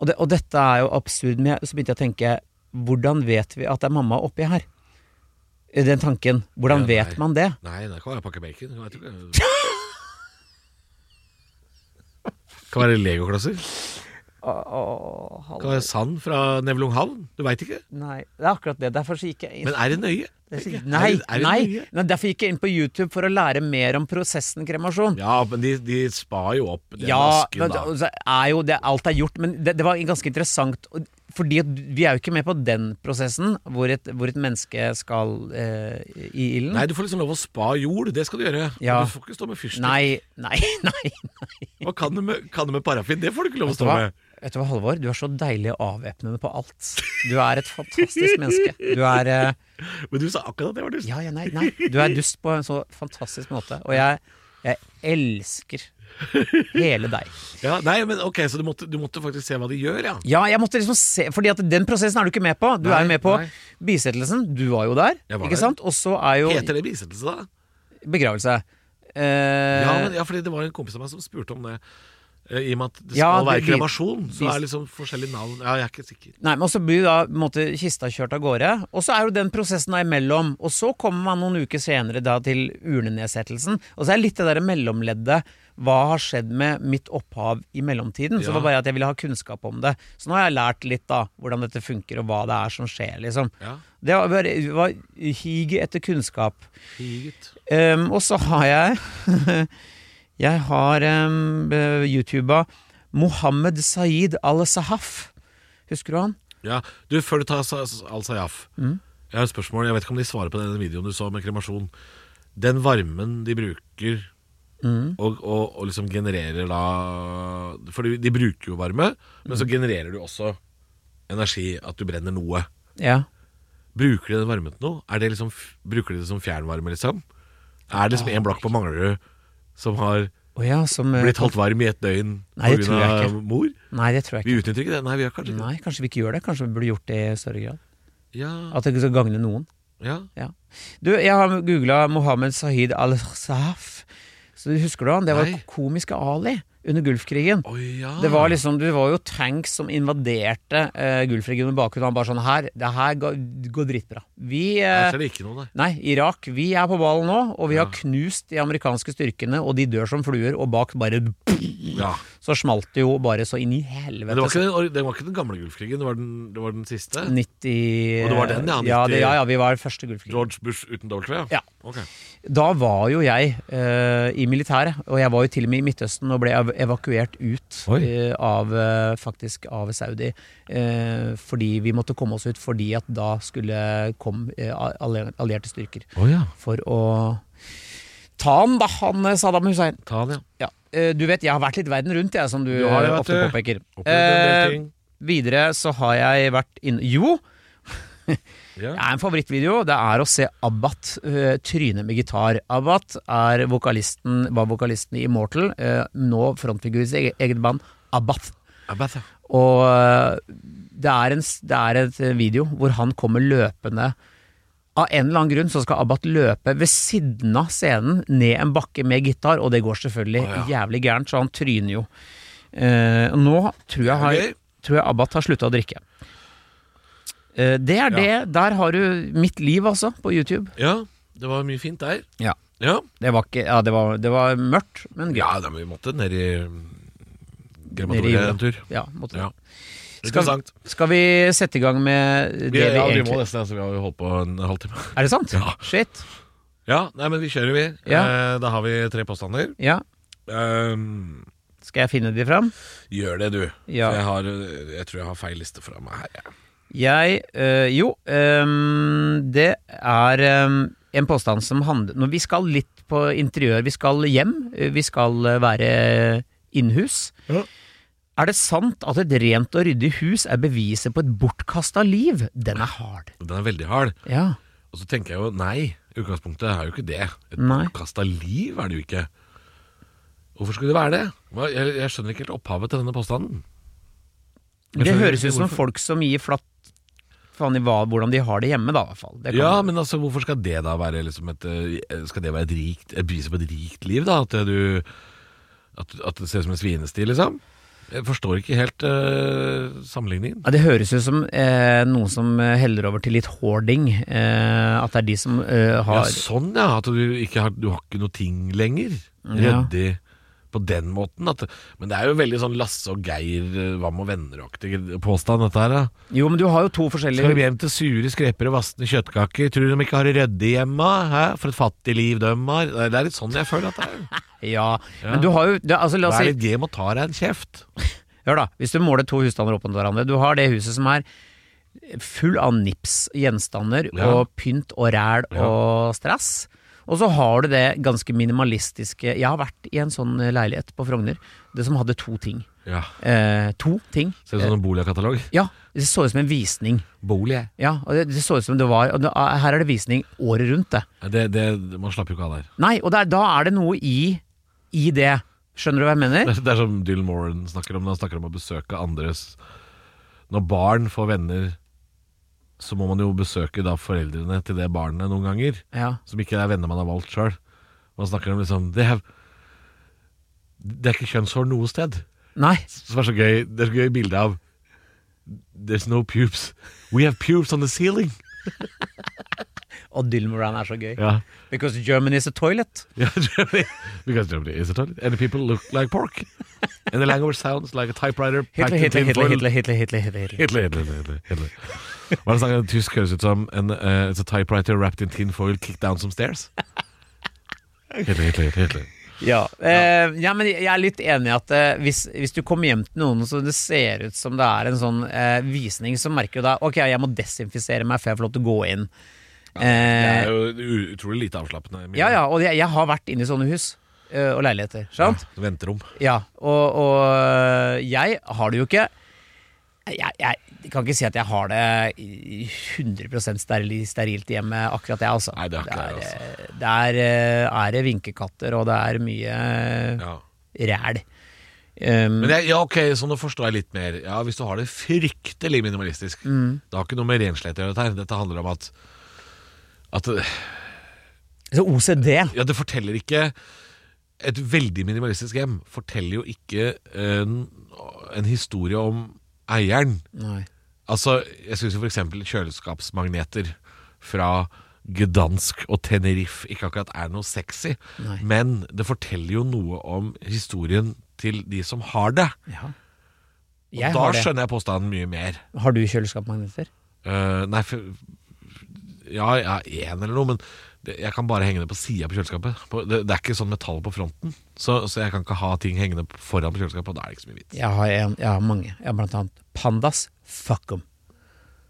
[SPEAKER 3] og, det, og dette er jo absurd, men jeg, så begynte jeg å tenke, hvordan vet vi at det er mamma oppi her? Den tanken.
[SPEAKER 2] Ja,
[SPEAKER 3] Hvordan vet
[SPEAKER 2] nei.
[SPEAKER 3] man det?
[SPEAKER 2] Nei, det kan være pakke bacon. Jeg vet
[SPEAKER 3] (laughs)
[SPEAKER 2] ikke. Kan være legoklosser. Kan være sand fra Nevlunghavn. Du veit ikke.
[SPEAKER 3] Nei, det er akkurat det. Derfor så gikk jeg inn.
[SPEAKER 2] Men er det nøye?
[SPEAKER 3] Det er
[SPEAKER 2] Tenker
[SPEAKER 3] sikkert-
[SPEAKER 2] jeg.
[SPEAKER 3] Nei,
[SPEAKER 2] Er det- er det
[SPEAKER 3] nei,
[SPEAKER 2] nøye?
[SPEAKER 3] nei, derfor gikk jeg inn på YouTube for å lære mer om prosessen kremasjon.
[SPEAKER 2] Ja, men de, de spar jo opp den
[SPEAKER 3] Ja,
[SPEAKER 2] asken,
[SPEAKER 3] men
[SPEAKER 2] da.
[SPEAKER 3] altså, er jo det, alt er gjort, men det, det var ganske interessant. og- Fordi at vi er jo ikke med på den prosessen hvor et, hvor et menneske skal eh, i ilden.
[SPEAKER 2] Nei, du får liksom lov å spa jord. Det skal du gjøre.
[SPEAKER 3] Ja.
[SPEAKER 2] Men Du får ikke stå med fyrstikk.
[SPEAKER 3] nei, nei, (laughs) nei. nei.
[SPEAKER 2] Og kan du med, kan du med parafin? Det får du ikke lov å
[SPEAKER 3] Vet du
[SPEAKER 2] stå
[SPEAKER 3] hva?
[SPEAKER 2] med.
[SPEAKER 3] Vet du hva, Halvor? Du er så deilig avvæpnende på alt. Du er et fantastisk menneske. Du er eh,
[SPEAKER 2] Men du sa akkurat at det var dust.
[SPEAKER 3] Ja, ja, nei, nei. Du er dust på en så fantastisk måte. Og jeg, jeg elsker hele deg.
[SPEAKER 2] Ja, nei, men ok, så du måtte, du måtte faktisk se hva de gjør, ja.
[SPEAKER 3] Ja, jeg måtte liksom se Fordi at den prosessen er du ikke med på. Du
[SPEAKER 2] Nei,
[SPEAKER 3] er jo med på
[SPEAKER 2] nei.
[SPEAKER 3] bisettelsen. Du var jo der.
[SPEAKER 2] Jeg var
[SPEAKER 3] ikke
[SPEAKER 2] der.
[SPEAKER 3] sant? Og så er jo
[SPEAKER 2] Heter det bisettelse, da?
[SPEAKER 3] begravelse. Eh,
[SPEAKER 2] Ja, men, ja, fordi det var en kompis av meg som spurte om det. Eh, I og med at det skal
[SPEAKER 3] Ja,
[SPEAKER 2] være
[SPEAKER 3] det-
[SPEAKER 2] kremasjon, så
[SPEAKER 3] bis-
[SPEAKER 2] er liksom forskjellige navn Ja, jeg er ikke sikker.
[SPEAKER 3] Nei, men også blir jo da på en måte, kista kjørt av gårde. Og så er jo den prosessen da imellom. Og så kommer man noen uker senere da til urnenedsettelsen. Og så er litt det derre mellomleddet. Hva har skjedd med mitt opphav i mellomtiden?
[SPEAKER 2] Ja.
[SPEAKER 3] Så det var bare at jeg ville ha kunnskap om det. Så nå har jeg lært litt da hvordan dette funker, og hva det er som skjer, liksom.
[SPEAKER 2] Ja,
[SPEAKER 3] Det var, bare- det var higet etter kunnskap.
[SPEAKER 2] higet.
[SPEAKER 3] Ehm, og så har jeg (laughs) Jeg har um, YouTuba Mohammed Saeed al-Sahaf. Husker du han?
[SPEAKER 2] Ja, du, før du tar Sa- Sa- Al-Sayaf
[SPEAKER 3] Mm.
[SPEAKER 2] Jeg har et spørsmål, jeg vet ikke om de svarer på den videoen du så med kremasjon Den varmen de bruker og, og, og liksom genererer da For de, de bruker jo varme Men
[SPEAKER 3] Mm.
[SPEAKER 2] så genererer du også energi At du brenner noe
[SPEAKER 3] Ja.
[SPEAKER 2] Bruker de den varmen til noe? Er det liksom, f- bruker de det som fjernvarme liksom? Er det liksom en blokk på Manglerud Som har
[SPEAKER 3] Å ja, som eh,
[SPEAKER 2] blitt holdt varm i et døgn
[SPEAKER 3] Nei,
[SPEAKER 2] på
[SPEAKER 3] det
[SPEAKER 2] grunn
[SPEAKER 3] tror jeg
[SPEAKER 2] av
[SPEAKER 3] ikke.
[SPEAKER 2] mor?
[SPEAKER 3] Nei, det tror jeg
[SPEAKER 2] Vi
[SPEAKER 3] ikke.
[SPEAKER 2] utnytter ikke det, nei vi gjør kanskje ikke det.
[SPEAKER 3] Nei, Kanskje vi ikke gjør det. Kanskje vi burde gjort det i større grad.
[SPEAKER 2] Ja,
[SPEAKER 3] At det skal gagne noen.
[SPEAKER 2] ja
[SPEAKER 3] Ja. Du, jeg har googla Mohammed Saeed al-Sahaf. Så Husker du han? Det var
[SPEAKER 2] Nei.
[SPEAKER 3] komiske Ali under Gulfkrigen.
[SPEAKER 2] Oi, ja
[SPEAKER 3] Det var liksom, det var jo tanks som invaderte uh, Gulfregionen i bakgrunnen. Han bare sånn her, det her går, går dritbra. Vi eh,
[SPEAKER 2] Her ser det ikke noe, nei.
[SPEAKER 3] Nei, Irak, vi er på ballen nå, og vi
[SPEAKER 2] Ja.
[SPEAKER 3] har knust de amerikanske styrkene, og de dør som fluer, og bak bare
[SPEAKER 2] Ja.
[SPEAKER 3] Så smalt det jo bare så inn i
[SPEAKER 2] Men det
[SPEAKER 3] helvete.
[SPEAKER 2] var, ikke den, det var ikke den gamle Gulfkrigen, det var den, det var den siste.
[SPEAKER 3] 90
[SPEAKER 2] Og det var den, ja,
[SPEAKER 3] Ja,
[SPEAKER 2] 90
[SPEAKER 3] det, ja, ja, vi var første Gulfkrigen.
[SPEAKER 2] George Bush uten W?
[SPEAKER 3] Ja.
[SPEAKER 2] Ok.
[SPEAKER 3] Da var jo jeg eh, i militæret, og jeg var jo til og med i Midtøsten og ble ev evakuert ut
[SPEAKER 2] Oi.
[SPEAKER 3] eh, av, eh, faktisk av Saudi. eh, fordi vi måtte komme oss ut fordi at da skulle kom eh, alli- allierte styrker for å ta han da, han eh, Saddam Hussein.
[SPEAKER 2] Ta den, ja.
[SPEAKER 3] Ja. eh, du vet, jeg har vært litt verden rundt, jeg, som du,
[SPEAKER 2] Du har det,
[SPEAKER 3] eh,
[SPEAKER 2] vet
[SPEAKER 3] ofte
[SPEAKER 2] du.
[SPEAKER 3] påpeker.
[SPEAKER 2] Opplevde en
[SPEAKER 3] Eh,
[SPEAKER 2] del ting.
[SPEAKER 3] videre så har jeg vært inne Jo!
[SPEAKER 2] Ja.
[SPEAKER 3] Det er en favorittvideo. Det er å se Abbat eh, tryne med gitar. Abbat er vokalisten, var vokalisten i Immortal, eh, nå frontfigur i sitt eget- eget band, Abbat.
[SPEAKER 2] Abbas, ja.
[SPEAKER 3] Og eh, det er, en, s- det er et eh, video hvor han kommer løpende Av en eller annen grunn så skal Abbat løpe ved siden av scenen, ned en bakke med gitar, og det går selvfølgelig
[SPEAKER 2] Å,
[SPEAKER 3] jævlig gærent, så han tryner jo. Eh, og nå tror jeg, har,
[SPEAKER 2] Det er gøy.
[SPEAKER 3] tror jeg Abbat har slutta å drikke. Eh, det er det. Der har du mitt liv, altså, på YouTube.
[SPEAKER 2] ja. Det var mye fint der.
[SPEAKER 3] Ja.
[SPEAKER 2] Ja,
[SPEAKER 3] Det var, ikke, ja, det var, det var mørkt, men gøy.
[SPEAKER 2] ja da, men vi måtte ned i
[SPEAKER 3] Nede i jorda.
[SPEAKER 2] krematoriet en tur.
[SPEAKER 3] Ja, måtte det.
[SPEAKER 2] Ja.
[SPEAKER 3] Skal,
[SPEAKER 2] Interessant.
[SPEAKER 3] skal vi sette i gang med det
[SPEAKER 2] Vi,
[SPEAKER 3] vi
[SPEAKER 2] ja, vi må
[SPEAKER 3] egentlig
[SPEAKER 2] nesten det, så vi har jo holdt på en halvtime. (laughs)
[SPEAKER 3] Er det sant?
[SPEAKER 2] Ja.
[SPEAKER 3] Shit.
[SPEAKER 2] Ja, nei, men vi kjører, vi.
[SPEAKER 3] Ja.
[SPEAKER 2] Eh, da har vi tre påstander.
[SPEAKER 3] Ja.
[SPEAKER 2] Ehm,
[SPEAKER 3] Skal jeg finne de fram?
[SPEAKER 2] gjør det, du.
[SPEAKER 3] Ja.
[SPEAKER 2] eh, For Jeg, har, jeg tror jeg har feil liste fra meg her. jeg.
[SPEAKER 3] Jeg øh, Jo, øhm, det er øhm, en påstand som handler Når vi skal litt på interiør, vi skal hjem, øh, vi skal øh, være innhus.
[SPEAKER 2] Ja.
[SPEAKER 3] Er det sant at et rent og ryddig hus er beviset på et bortkasta liv? Den er hard.
[SPEAKER 2] Den er veldig hard.
[SPEAKER 3] Ja.
[SPEAKER 2] Og så tenker jeg jo nei, utgangspunktet er jo ikke det. Et
[SPEAKER 3] Nei.
[SPEAKER 2] bortkasta liv er det jo ikke. Hvorfor skulle det være det? Hva- Jeg, jeg skjønner ikke helt opphavet til denne påstanden. Jeg
[SPEAKER 3] Det
[SPEAKER 2] skjønner
[SPEAKER 3] høres
[SPEAKER 2] ikke
[SPEAKER 3] ut som
[SPEAKER 2] hvorfor.
[SPEAKER 3] folk som gir flatt faen i hva, hvordan de har det hjemme, da, i hvert fall. Det kan-
[SPEAKER 2] Ja, men altså, hvorfor skal det da være liksom et eh, Skal det være et rikt et bevis på et rikt liv, da? At eh, du At, at det ser ut som en svinesti, liksom? Jeg forstår ikke helt eh, sammenligningen.
[SPEAKER 3] Ja, Det høres ut som eh, noen som eh, heller over til litt hoarding. Eh, at det er de som eh,
[SPEAKER 2] Ja,
[SPEAKER 3] har
[SPEAKER 2] sånn, ja. At du ikke har, du har ikke noe ting lenger.
[SPEAKER 3] Ja.
[SPEAKER 2] Ryddig på den måten. At, men det er jo veldig sånn Lasse og Geir, eh, hva med venner-aktig påstand, dette her. da.
[SPEAKER 3] Jo, men du har jo to forskjellige
[SPEAKER 2] Skal de hjem til sure skreper og vassende kjøttkaker? Tror du de ikke har det ryddig hjemme? Hæ? For et fattig liv de har. Det er litt sånn jeg føler at det er.
[SPEAKER 3] Ja,
[SPEAKER 2] Ja.
[SPEAKER 3] men du har jo det, altså, La oss
[SPEAKER 2] Vær
[SPEAKER 3] si
[SPEAKER 2] litt game og ta deg en kjeft.
[SPEAKER 3] Hør, da. Hvis du måler to husstander opp mot hverandre Du har det huset som er full av nips, gjenstander
[SPEAKER 2] Ja.
[SPEAKER 3] og pynt og ræl
[SPEAKER 2] Ja.
[SPEAKER 3] og stress. Og så har du det ganske minimalistiske Jeg har vært i en sånn leilighet på Frogner. Det som hadde to ting.
[SPEAKER 2] Ja.
[SPEAKER 3] Eh, to ting.
[SPEAKER 2] Ser ut som en boligkatalog.
[SPEAKER 3] Ja, det så ut som en visning.
[SPEAKER 2] Bolig, jeg.
[SPEAKER 3] Ja, og det, det så ut som det var og det, ah, Her er det visning året rundt, det.
[SPEAKER 2] Det, det, man slapper jo ikke av der.
[SPEAKER 3] Nei, og det er, da er det noe i, i det. Skjønner du hva jeg mener?
[SPEAKER 2] Det er, det er som Dylan Moran snakker om når han snakker om å besøke andres Når barn får venner, så må man jo besøke da foreldrene til det barnet noen ganger.
[SPEAKER 3] Ja.
[SPEAKER 2] Som ikke er venner man har valgt sjøl. Man snakker om liksom Det er, det er ikke kjønnshår noe sted.
[SPEAKER 3] Nei.
[SPEAKER 2] som er så gøy Det er så gøy bilde av There's no pubes We have pubes on the ceiling
[SPEAKER 3] Og Dylan Moran er så gøy.
[SPEAKER 2] Ja,
[SPEAKER 3] Because Germany is a toilet.
[SPEAKER 2] (laughs) ja Germany Because Germany is a toilet And the people look like pork And the language sounds like a typewriter
[SPEAKER 3] Hitler,
[SPEAKER 2] packed
[SPEAKER 3] Hitler,
[SPEAKER 2] in tin
[SPEAKER 3] Hitler,
[SPEAKER 2] foil.
[SPEAKER 3] Hitler, Hitler, Hitler, Hitler, Hitler.
[SPEAKER 2] Hitler, Hitler, Hitler, Hitler. Hva er det snakket om? Tysk høres ut som en, eh, It's a typewriter wrapped in tin foil Kicked down some
[SPEAKER 3] (laughs)
[SPEAKER 2] stairs Hitler, Hitler, Hitler
[SPEAKER 3] Ja. Eh, ja, men jeg er litt enig i at eh, hvis, hvis du kommer hjem til noen så det ser ut som det er en sånn eh, visning, så merker du da Ok, jeg må desinfisere meg før jeg får lov til å gå inn.
[SPEAKER 2] Det
[SPEAKER 3] Eh,
[SPEAKER 2] er jo utrolig lite avslappende Emilie.
[SPEAKER 3] ja, ja, og jeg, jeg har vært inne i sånne hus eh, og leiligheter. Sant?
[SPEAKER 2] Venterom
[SPEAKER 3] Ja, og, og jeg har det jo ikke jeg, jeg, kan ikke si at jeg har det i 100 steril, sterilt hjemme, akkurat jeg, altså.
[SPEAKER 2] Nei, det har ikke jeg, altså.
[SPEAKER 3] er, eh, det er, eh, er det vinkekatter, og det er mye
[SPEAKER 2] Ja
[SPEAKER 3] ræl. Um,
[SPEAKER 2] Men jeg, ja, ok, så nå forstår jeg litt mer. Ja, Hvis du har det fryktelig minimalistisk
[SPEAKER 3] Mm.
[SPEAKER 2] Det har ikke noe med renslighet å gjøre, dette her. Dette handler om at, at
[SPEAKER 3] så OCD.
[SPEAKER 2] Ja, det forteller ikke Et veldig minimalistisk hjem forteller jo ikke en, en historie om eieren.
[SPEAKER 3] Nei.
[SPEAKER 2] Altså, jeg syns f.eks. kjøleskapsmagneter fra Gdansk og Tenerife ikke akkurat er noe sexy,
[SPEAKER 3] Nei.
[SPEAKER 2] men det forteller jo noe om historien til de som har det.
[SPEAKER 3] Ja.
[SPEAKER 2] Og
[SPEAKER 3] Jeg
[SPEAKER 2] da
[SPEAKER 3] har det.
[SPEAKER 2] skjønner jeg påstanden mye mer.
[SPEAKER 3] Har du kjøleskapmagneter?
[SPEAKER 2] Eh, nei, for Ja, jeg har én eller noe, men det, jeg kan bare henge det på sida på kjøleskapet. På, det, det er ikke sånn metall på fronten, så, så jeg kan ikke ha ting hengende på- foran på kjøleskapet. Og da er det ikke så mye vits.
[SPEAKER 3] Jeg har, en, jeg har mange. Jeg har blant annet pandas. Fuck em.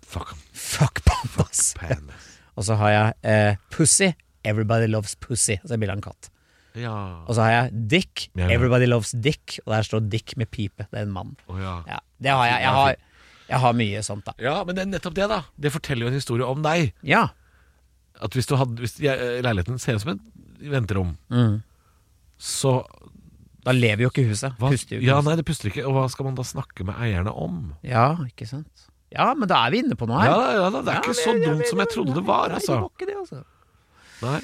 [SPEAKER 2] Fuck 'em,
[SPEAKER 3] Fuck pandas. (laughs)
[SPEAKER 2] pan.
[SPEAKER 3] Og så har jeg eh, Pussy. Everybody loves pussy. Og så er bildet av en katt.
[SPEAKER 2] Ja.
[SPEAKER 3] Og så har jeg Dick.
[SPEAKER 2] Ja, ja.
[SPEAKER 3] Everybody loves Dick. Og der står Dick med pipe. Det er en mann.
[SPEAKER 2] Å, ja.
[SPEAKER 3] Ja, det har jeg. Jeg har, jeg har mye sånt, da.
[SPEAKER 2] ja, men det er nettopp det, da. Det forteller jo en historie om deg.
[SPEAKER 3] Ja.
[SPEAKER 2] At hvis, du hadde, hvis jeg, eh, leiligheten ser ut som et venterom,
[SPEAKER 3] Mm.
[SPEAKER 2] så
[SPEAKER 3] Da lever jo ikke huset.
[SPEAKER 2] hva,
[SPEAKER 3] Puster jo ikke.
[SPEAKER 2] Ja,
[SPEAKER 3] huset.
[SPEAKER 2] nei, det puster ikke. Og hva skal man da snakke med eierne om?
[SPEAKER 3] ja, ikke sant. Ja, men da er vi inne på noe
[SPEAKER 2] Ja,
[SPEAKER 3] her.
[SPEAKER 2] da, ja, da, det er
[SPEAKER 3] Ja,
[SPEAKER 2] ikke
[SPEAKER 3] men-
[SPEAKER 2] så
[SPEAKER 3] ja,
[SPEAKER 2] dumt
[SPEAKER 3] men-
[SPEAKER 2] som jeg trodde det var,
[SPEAKER 3] Nei,
[SPEAKER 2] altså.
[SPEAKER 3] var ikke det, altså.
[SPEAKER 2] Nei.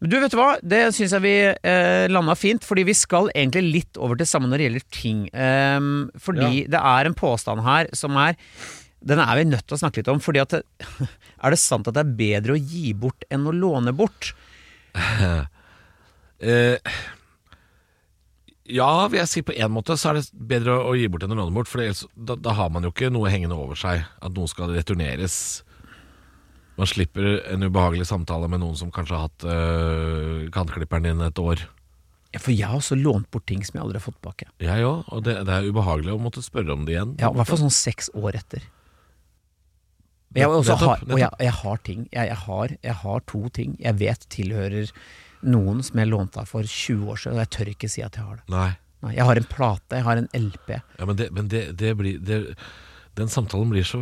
[SPEAKER 3] Men du, vet du hva? Det syns jeg vi eh, landa fint, fordi vi skal egentlig litt over til samme når det gjelder ting. Ehm, fordi det er en påstand her som er Den er vi nødt til å snakke litt om, fordi at det, (laughs) Er det sant at det er bedre å gi bort enn å låne bort?
[SPEAKER 2] Eh, ja, vil jeg si på en måte så er det bedre å gi bort enn å låne bort, for ellers, da, da har man jo ikke noe hengende over seg at noe skal returneres. Man slipper en ubehagelig samtale med noen som kanskje har hatt eh, kantklipperen din et år.
[SPEAKER 3] Ja, for jeg har også lånt bort ting som jeg aldri har fått tilbake.
[SPEAKER 2] Jeg òg, og det, det er ubehagelig å måtte spørre om det igjen.
[SPEAKER 3] Ja, I hvert fall sånn seks år etter. Men jeg, også
[SPEAKER 2] Nettopp,
[SPEAKER 3] har, og jeg, jeg har ting. Jeg, jeg, har, jeg har to ting jeg vet tilhører noen som jeg lånte av for 20 år siden, og jeg tør ikke si at jeg har det.
[SPEAKER 2] Nei.
[SPEAKER 3] Nei, jeg har en plate, jeg har en LP.
[SPEAKER 2] Ja, men det, men det, det blir det, Den samtalen blir så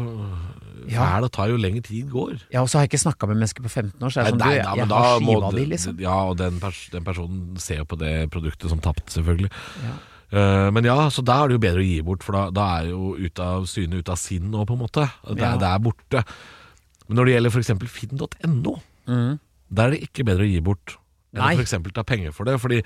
[SPEAKER 3] Ja.
[SPEAKER 2] fæl og tar jo lengre tid går.
[SPEAKER 3] Ja, og så har jeg ikke snakka med mennesker på 15 år, så jeg, er sånn, du, jeg,
[SPEAKER 2] da-
[SPEAKER 3] jeg,
[SPEAKER 2] men da
[SPEAKER 3] har
[SPEAKER 2] må
[SPEAKER 3] skiva
[SPEAKER 2] du-
[SPEAKER 3] di, liksom.
[SPEAKER 2] Ja, og den, pers den personen ser jo på det produktet som tapt, selvfølgelig.
[SPEAKER 3] Ja.
[SPEAKER 2] Eh, men ja, så da er det jo bedre å gi bort, for da, da er jo ute av syne, ute av sinn nå, på en måte. Det,
[SPEAKER 3] Ja.
[SPEAKER 2] er- det er borte. Men når det gjelder f.eks. finn.no,
[SPEAKER 3] Mm.
[SPEAKER 2] der er det ikke bedre å gi bort
[SPEAKER 3] Nei.
[SPEAKER 2] enn å f.eks. ta penger for det. Fordi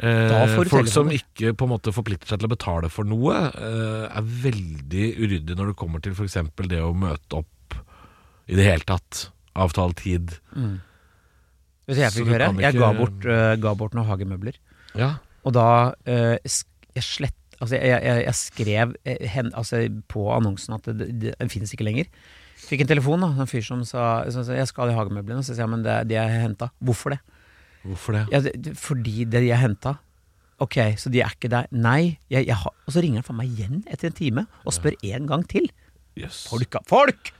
[SPEAKER 3] Da
[SPEAKER 2] eh,
[SPEAKER 3] får du
[SPEAKER 2] folk
[SPEAKER 3] telefoner.
[SPEAKER 2] som ikke på en måte forplikter seg til å betale for noe, eh, er veldig uryddige når det kommer til f.eks. det å møte opp i det hele tatt. Avtale tid.
[SPEAKER 3] Vet du hva jeg
[SPEAKER 2] Så
[SPEAKER 3] fikk
[SPEAKER 2] du
[SPEAKER 3] høre?
[SPEAKER 2] kan
[SPEAKER 3] Jeg
[SPEAKER 2] ikke-
[SPEAKER 3] ga bort, eh, ga bort noen hagemøbler.
[SPEAKER 2] Ja.
[SPEAKER 3] Og da eh, sk jeg slett Altså, jeg, jeg, jeg skrev eh, hen, altså, på annonsen at det, det, den finnes ikke lenger. Fikk en telefon da, en fyr som sa som sa, 'jeg skal ha de hagemøblene'. Så sier jeg men det, de jeg henta. Hvorfor det?
[SPEAKER 2] Hvorfor det?
[SPEAKER 3] Ja, det, det fordi det de jeg henta Ok, så de er ikke der. Nei. Jeg, jeg har, og så ringer han faen meg igjen etter en time og spør en gang til.
[SPEAKER 2] Yes.
[SPEAKER 3] Folka, folk!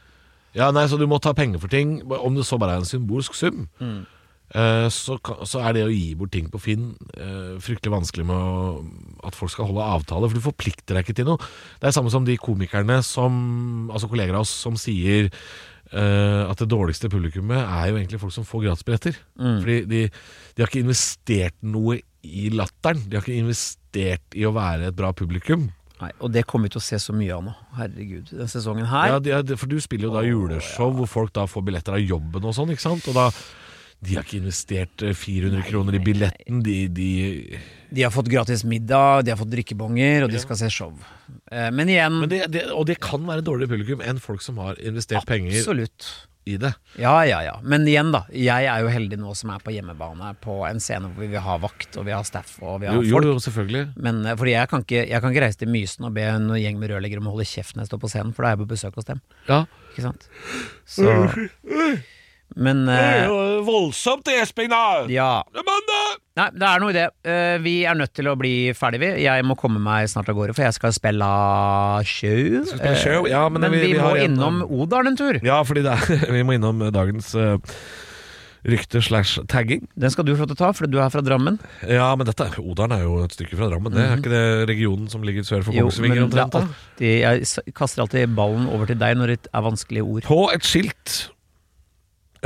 [SPEAKER 2] Ja, nei, så du må ta penger for ting, om det så bare er en symbolsk sum. eh, Så, ka- så er det å gi bort ting på Finn eh, fryktelig vanskelig med å, at folk skal holde avtale, for du forplikter deg ikke til noe. Det er samme som de komikerne som, altså kolleger av oss, som sier eh, at det dårligste publikummet er jo egentlig folk som får gratisbilletter. Fordi de, de har ikke investert noe i latteren. De har ikke investert i å være et bra publikum.
[SPEAKER 3] Nei, Og det kommer vi til å se så mye av nå. Herregud. Den sesongen her.
[SPEAKER 2] Ja, de er, for du spiller jo da juleshow hvor folk da får billetter av jobben og sånn, ikke sant? Og da De har ikke investert eh, 400 kroner i billetten, de, de
[SPEAKER 3] De har fått gratis middag, de har fått drikkebonger, og de skal se show. Eh, men igjen,
[SPEAKER 2] Men det, det, Og det kan være dårligere publikum enn folk som har investert penger
[SPEAKER 3] absolutt.
[SPEAKER 2] i det.
[SPEAKER 3] Ja, ja, ja. Men igjen, da. Jeg er jo heldig nå som er på hjemmebane på en scene hvor vi har vakt, og vi har staff, og vi har
[SPEAKER 2] Jo, jo,
[SPEAKER 3] folk.
[SPEAKER 2] jo selvfølgelig.
[SPEAKER 3] Men eh, fordi jeg kan, ikke, jeg kan ikke reise til Mysen og be en gjeng med rørleggere om å holde kjeft når jeg står på scenen, for da er jeg på besøk hos dem.
[SPEAKER 2] Ja.
[SPEAKER 3] Ikke sant? Så Men eh,
[SPEAKER 2] voldsomt, det, Espen, da!
[SPEAKER 3] ja.
[SPEAKER 2] Det er mandag!
[SPEAKER 3] Nei, det er noe i det. Eh, vi er nødt til å bli ferdig, vi. Jeg må komme meg snart av gårde, for jeg skal spille show.
[SPEAKER 2] Skal vi spille show? Ja, men
[SPEAKER 3] men
[SPEAKER 2] vi-
[SPEAKER 3] vi,
[SPEAKER 2] vi
[SPEAKER 3] må
[SPEAKER 2] har en-
[SPEAKER 3] innom Odalen en tur.
[SPEAKER 2] Ja, fordi det er, (laughs) vi må innom eh, dagens eh, rykte slash tagging.
[SPEAKER 3] Den skal du få lov til å ta, for du er fra Drammen.
[SPEAKER 2] Ja, men dette er- Odalen er jo et stykke fra Drammen. Det er ikke det regionen som ligger sør for
[SPEAKER 3] Mhm. Jo,
[SPEAKER 2] Kongsvinger
[SPEAKER 3] men det er
[SPEAKER 2] omtrent? da?
[SPEAKER 3] alltid, jeg s- kaster alltid ballen over til deg når det er vanskelige ord.
[SPEAKER 2] På et skilt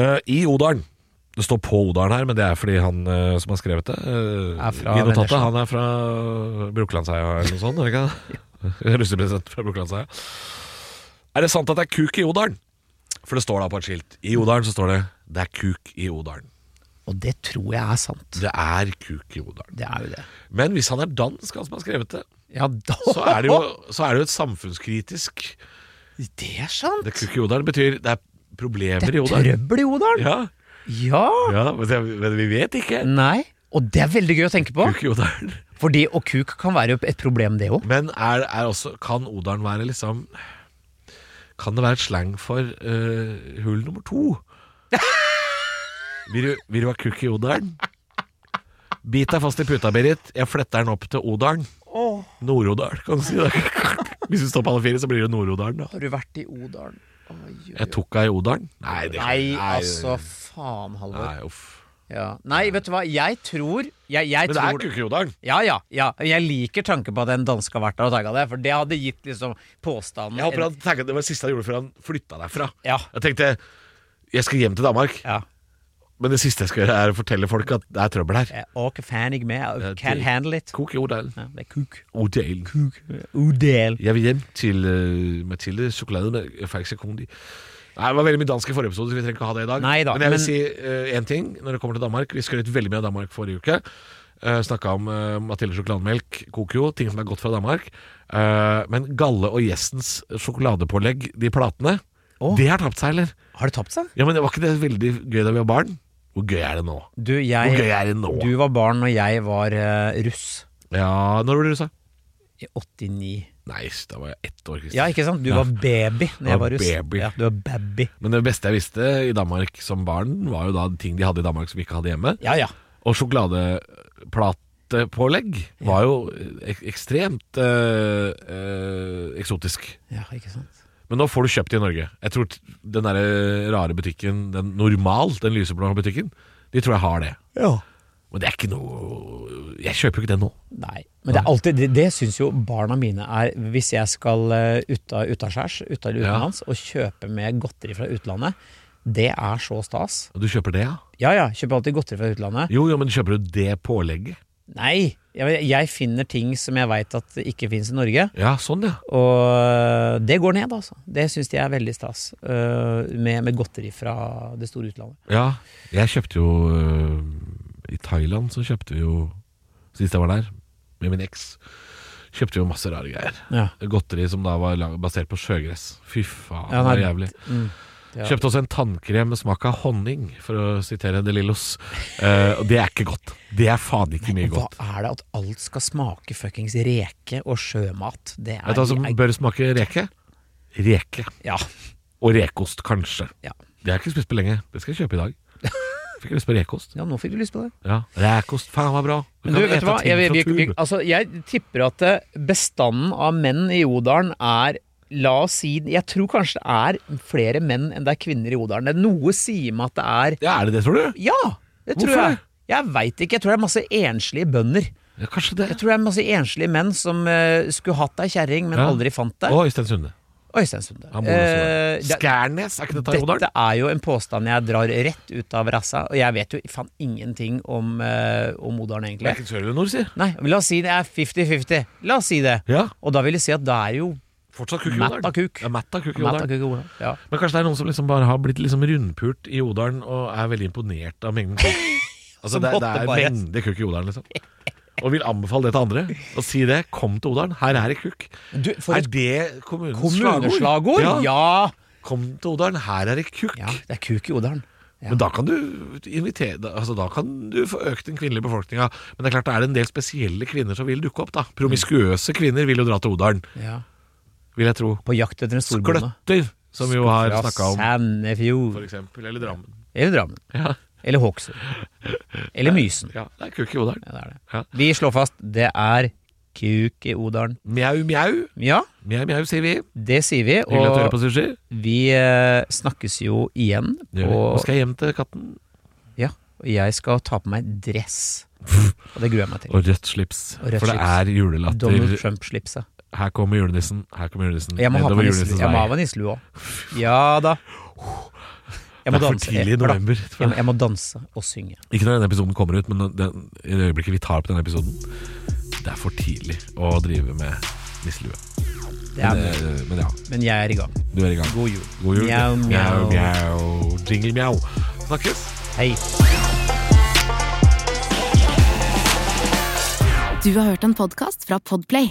[SPEAKER 2] eh, i Odalen Det står på Odalen her, men det er fordi han eh, som har skrevet det eh,
[SPEAKER 3] Er fra
[SPEAKER 2] i notatet,
[SPEAKER 3] Vennesla.
[SPEAKER 2] Han er fra Brokelandsheia eller noe sånt, er det ikke
[SPEAKER 3] (laughs)
[SPEAKER 2] det? Russepresident fra Brokelandsheia. Er det sant at det er kuk i Odalen? For det står da på et skilt. I Odalen så står det 'Det er kuk i Odalen'.
[SPEAKER 3] Og det tror jeg er sant.
[SPEAKER 2] Det er kuk i Odalen.
[SPEAKER 3] Det er jo det.
[SPEAKER 2] Men hvis han er dansk, han som har skrevet det,
[SPEAKER 3] Ja, da
[SPEAKER 2] så er det jo, så er det jo et samfunnskritisk
[SPEAKER 3] (laughs) Det er sant!
[SPEAKER 2] Det er kuk i Odalen betyr det er problemer
[SPEAKER 3] Det er
[SPEAKER 2] i Odalen.
[SPEAKER 3] trøbbel i Odalen!
[SPEAKER 2] Ja,
[SPEAKER 3] Ja!
[SPEAKER 2] ja men, det, men vi vet ikke.
[SPEAKER 3] Nei. Og det er veldig gøy å tenke på.
[SPEAKER 2] Kuk i Odalen.
[SPEAKER 3] Fordi å kuk kan være et problem, det òg.
[SPEAKER 2] Men er, er også, kan Odalen være liksom Kan det være et slang for eh, hull nummer to? Vil du, vil du ha kuk i Odalen? Bit deg fast i puta, Berit. Jeg fletter den opp til Odalen. Nord-Odalen, kan du si. det Hvis du står på alle fire, så blir det Nord-Odalen. da
[SPEAKER 3] Har du vært i Odalen? Oi,
[SPEAKER 2] Jeg tok deg i Odalen. Nei, det,
[SPEAKER 3] Nei, altså faen, Halvor.
[SPEAKER 2] Nei, uff.
[SPEAKER 3] Ja. Nei, vet du hva, jeg tror Jeg, jeg
[SPEAKER 2] Men det er
[SPEAKER 3] tror
[SPEAKER 2] kuk i Odalen.
[SPEAKER 3] Ja, ja, ja. Jeg liker tanken på at en danske har vært der og tagga det, for det hadde gitt liksom påstanden
[SPEAKER 2] Jeg håper han tenker at det var det siste han gjorde før han flytta derfra.
[SPEAKER 3] Ja.
[SPEAKER 2] Jeg tenkte jeg skal hjem til Danmark,
[SPEAKER 3] ja.
[SPEAKER 2] men det siste jeg skal gjøre, er å fortelle folk at det er trøbbel her.
[SPEAKER 3] Jeg er ikke fan jeg med.
[SPEAKER 2] Ja,
[SPEAKER 3] Jeg Can
[SPEAKER 2] det-
[SPEAKER 3] handle it.
[SPEAKER 2] Kok i Odalen.
[SPEAKER 3] Ja, det er kuk.
[SPEAKER 2] Odalen.
[SPEAKER 3] Udel.
[SPEAKER 2] Jeg vil hjem til eh, Mathilde Sjokolade med Faxe Kondi. Nei, Det var veldig mye dansk i forrige episode, så vi trenger ikke ha det i dag.
[SPEAKER 3] Nei da,
[SPEAKER 2] men jeg vil
[SPEAKER 3] men-
[SPEAKER 2] si eh, én ting når det kommer til Danmark. Vi skrøt veldig mye av Danmark forrige uke. Uh, Snakka om eh, Mathilde sjokolademelk, Kokio, ting som er godt fra Danmark. Eh, men Galle og Gjessens sjokoladepålegg, de platene,
[SPEAKER 3] Å.
[SPEAKER 2] det har tapt seg, eller?
[SPEAKER 3] Har det tapt seg?
[SPEAKER 2] Ja, men det Var ikke det veldig gøy da vi var barn? Hvor gøy er det nå?
[SPEAKER 3] Du,
[SPEAKER 2] Hvor gøy
[SPEAKER 3] jeg
[SPEAKER 2] er det nå?
[SPEAKER 3] Du var barn når jeg var eh, russ.
[SPEAKER 2] Ja, Når ble du russa?
[SPEAKER 3] I 89.
[SPEAKER 2] Nei, da var jeg ett år. Christian.
[SPEAKER 3] Ja, ikke sant? Du var baby
[SPEAKER 2] Jeg
[SPEAKER 3] når jeg
[SPEAKER 2] var
[SPEAKER 3] var russ.
[SPEAKER 2] baby.
[SPEAKER 3] Ja, du var baby.
[SPEAKER 2] Men det beste jeg visste i Danmark som barn, var jo da ting de hadde i Danmark som vi ikke hadde hjemme.
[SPEAKER 3] Ja, ja.
[SPEAKER 2] Og sjokoladeplatepålegg var jo ek ekstremt eh, eh, eksotisk.
[SPEAKER 3] Ja, ikke sant.
[SPEAKER 2] Men nå får du kjøpt det i Norge. Jeg tror t- den der rare butikken, den normal, den lyseblå butikken, de tror jeg har det.
[SPEAKER 3] Ja.
[SPEAKER 2] Men det er ikke noe Jeg kjøper jo ikke den nå.
[SPEAKER 3] Nei, men det er alltid Det, det syns jo barna mine er Hvis jeg skal eh, uta- utaskjærs, uta eller
[SPEAKER 2] Ja.
[SPEAKER 3] utenlands, og kjøpe med godteri fra utlandet, det er så stas.
[SPEAKER 2] Du kjøper det, ja?
[SPEAKER 3] Ja ja, kjøper alltid godteri fra utlandet.
[SPEAKER 2] Jo, jo, men kjøper du det pålegget?
[SPEAKER 3] Nei! Jeg, jeg finner ting som jeg veit at ikke fins i Norge,
[SPEAKER 2] Ja, sånn, ja.
[SPEAKER 3] og det går ned, altså. Det syns de er veldig stas, eh, med, med godteri fra det store utlandet.
[SPEAKER 2] Ja, jeg kjøpte jo øh, I Thailand så kjøpte vi jo Sist jeg var der med min eks Kjøpte vi jo masse rare greier
[SPEAKER 3] Ja.
[SPEAKER 2] Godteri som da var lag- basert på sjøgress Fy faen,
[SPEAKER 3] Ja,
[SPEAKER 2] det var
[SPEAKER 3] nei,
[SPEAKER 2] jævlig
[SPEAKER 3] Mm. Ja.
[SPEAKER 2] Kjøpte også en tannkrem med smak av honning For å sitere De Lillos Eh, Og det er ikke godt Det er faen ikke mye
[SPEAKER 3] Hva
[SPEAKER 2] godt
[SPEAKER 3] er det at alt skal smake fuckings reke og sjømat? Det er
[SPEAKER 2] Vet du hva som bør smake reke? Reke
[SPEAKER 3] Ja.
[SPEAKER 2] Og rekost kanskje
[SPEAKER 3] Ja.
[SPEAKER 2] Det har jeg ikke spist på lenge Det skal jeg kjøpe i
[SPEAKER 3] (laughs)
[SPEAKER 2] dag Fikk lyst på rekost
[SPEAKER 3] ja, nå fikk du lyst på det.
[SPEAKER 2] Ja, rekost, faen var bra
[SPEAKER 3] Men du,
[SPEAKER 2] kan
[SPEAKER 3] vet
[SPEAKER 2] ete
[SPEAKER 3] du hva?
[SPEAKER 2] ting
[SPEAKER 3] Jeg, vi,
[SPEAKER 2] fra
[SPEAKER 3] vi, vi,
[SPEAKER 2] tunet.
[SPEAKER 3] altså, jeg tipper at eh, bestanden av menn i Odalen er La oss si Jeg tror kanskje det er flere menn enn det er kvinner i Odalen. Det- Noe sier meg at det er
[SPEAKER 2] Ja, er det det, tror du?
[SPEAKER 3] Ja! Det tror
[SPEAKER 2] Hvorfor
[SPEAKER 3] jeg. Jeg veit ikke. Jeg tror det er masse enslige bønder.
[SPEAKER 2] Ja, kanskje det.
[SPEAKER 3] Jeg tror det er masse enslige menn som eh, skulle hatt ei kjerring, men
[SPEAKER 2] Ja.
[SPEAKER 3] aldri fant det.
[SPEAKER 2] Og Øystein Sunde.
[SPEAKER 3] Øystein Sunde.
[SPEAKER 2] Han bor også
[SPEAKER 3] Eh,
[SPEAKER 2] der.
[SPEAKER 3] det-
[SPEAKER 2] Skærnes, er ikke dette i
[SPEAKER 3] Dette
[SPEAKER 2] Odalen?
[SPEAKER 3] er jo en påstand jeg drar rett ut av rassa, og jeg vet jo faen ingenting om, eh, om Odalen,
[SPEAKER 2] Det er
[SPEAKER 3] egentlig.
[SPEAKER 2] ikke sør eller nord, si.
[SPEAKER 3] Nei, men la oss si det er 50-50. La oss si det.
[SPEAKER 2] Ja,
[SPEAKER 3] Og da vil jeg si at det er jo
[SPEAKER 2] fortsatt kuk i
[SPEAKER 3] Matt
[SPEAKER 2] Odalen.
[SPEAKER 3] av kuk.
[SPEAKER 2] Ja, Matt av kuk i
[SPEAKER 3] Matt av
[SPEAKER 2] Odalen.
[SPEAKER 3] kuk i Odalen. Ja.
[SPEAKER 2] Men kanskje det er noen som liksom bare har blitt liksom rundpult i Odalen og er veldig imponert av mengden kuk.
[SPEAKER 3] (laughs)
[SPEAKER 2] Altså,
[SPEAKER 3] Som
[SPEAKER 2] det, er- det
[SPEAKER 3] måtte
[SPEAKER 2] er
[SPEAKER 3] bare-
[SPEAKER 2] mengde kuk i Odalen, liksom. Og vil anbefale det til andre. Og si det. Kom til Odalen, her er det kuk.
[SPEAKER 3] Du, for
[SPEAKER 2] Er
[SPEAKER 3] et
[SPEAKER 2] det kommunens slagord?
[SPEAKER 3] kommuneslagord!
[SPEAKER 2] Ja.
[SPEAKER 3] Ja.
[SPEAKER 2] Kom til Odalen, her er det kuk.
[SPEAKER 3] ja! Det er kuk i Odalen. Ja.
[SPEAKER 2] Men da kan du invitere da- Altså da kan du få økt den kvinnelige befolkninga. Men det er klart det er en del spesielle kvinner som vil dukke opp. da Promiskuøse kvinner vil jo dra til Odalen,
[SPEAKER 3] Ja.
[SPEAKER 2] vil jeg tro.
[SPEAKER 3] På jakt etter en storbonde.
[SPEAKER 2] Skløtter, som vi jo har
[SPEAKER 3] Fra
[SPEAKER 2] snakka om. For
[SPEAKER 3] Sandefjord.
[SPEAKER 2] eksempel, eller Drammen.
[SPEAKER 3] Eller Drammen.
[SPEAKER 2] Ja,
[SPEAKER 3] Eller Hokksund. Eller Mysen.
[SPEAKER 2] ja det er kuk i Odalen.
[SPEAKER 3] Ja, det er det.
[SPEAKER 2] Ja.
[SPEAKER 3] Vi slår fast det er kuk i Odalen.
[SPEAKER 2] Mjau, mjau.
[SPEAKER 3] Ja,
[SPEAKER 2] Mjau, mjau, sier vi.
[SPEAKER 3] det sier vi.
[SPEAKER 2] Hyggelig at du hører
[SPEAKER 3] Og
[SPEAKER 2] på sushi.
[SPEAKER 3] vi eh, snakkes jo igjen.
[SPEAKER 2] Det gjør vi. Nå
[SPEAKER 3] Og,
[SPEAKER 2] skal jeg hjem til katten.
[SPEAKER 3] ja, og jeg skal ta på meg dress. Og det gruer jeg meg til.
[SPEAKER 2] Og rødt slips.
[SPEAKER 3] Og rødt
[SPEAKER 2] For det
[SPEAKER 3] slips.
[SPEAKER 2] er
[SPEAKER 3] Donald
[SPEAKER 2] julelatter.
[SPEAKER 3] Trump-slipset.
[SPEAKER 2] Her kommer julenissen. Her kommer julenissen.
[SPEAKER 3] Jeg må ha
[SPEAKER 2] Nedover
[SPEAKER 3] på nisselue.
[SPEAKER 2] julenissens
[SPEAKER 3] Jeg må
[SPEAKER 2] vei.
[SPEAKER 3] ha på nisselue òg. Ja da. Jeg må
[SPEAKER 2] det er for
[SPEAKER 3] danse.
[SPEAKER 2] tidlig i
[SPEAKER 3] Jeg- bla.
[SPEAKER 2] november.
[SPEAKER 3] Jeg må, jeg må danse og synge.
[SPEAKER 2] Ikke når denne episoden kommer ut, men den, i det øyeblikket vi tar opp denne episoden Det er for tidlig å drive med nisselue.
[SPEAKER 3] Det er,
[SPEAKER 2] Men,
[SPEAKER 3] mulig.
[SPEAKER 2] eh, men ja,
[SPEAKER 3] men jeg er i gang.
[SPEAKER 2] du er i gang.
[SPEAKER 3] God jul.
[SPEAKER 2] God jul.
[SPEAKER 3] Mjau, mjau.
[SPEAKER 2] mjau. Jingle mjau. Snakkes.
[SPEAKER 3] Hei.
[SPEAKER 5] Du har hørt en podcast fra Podplay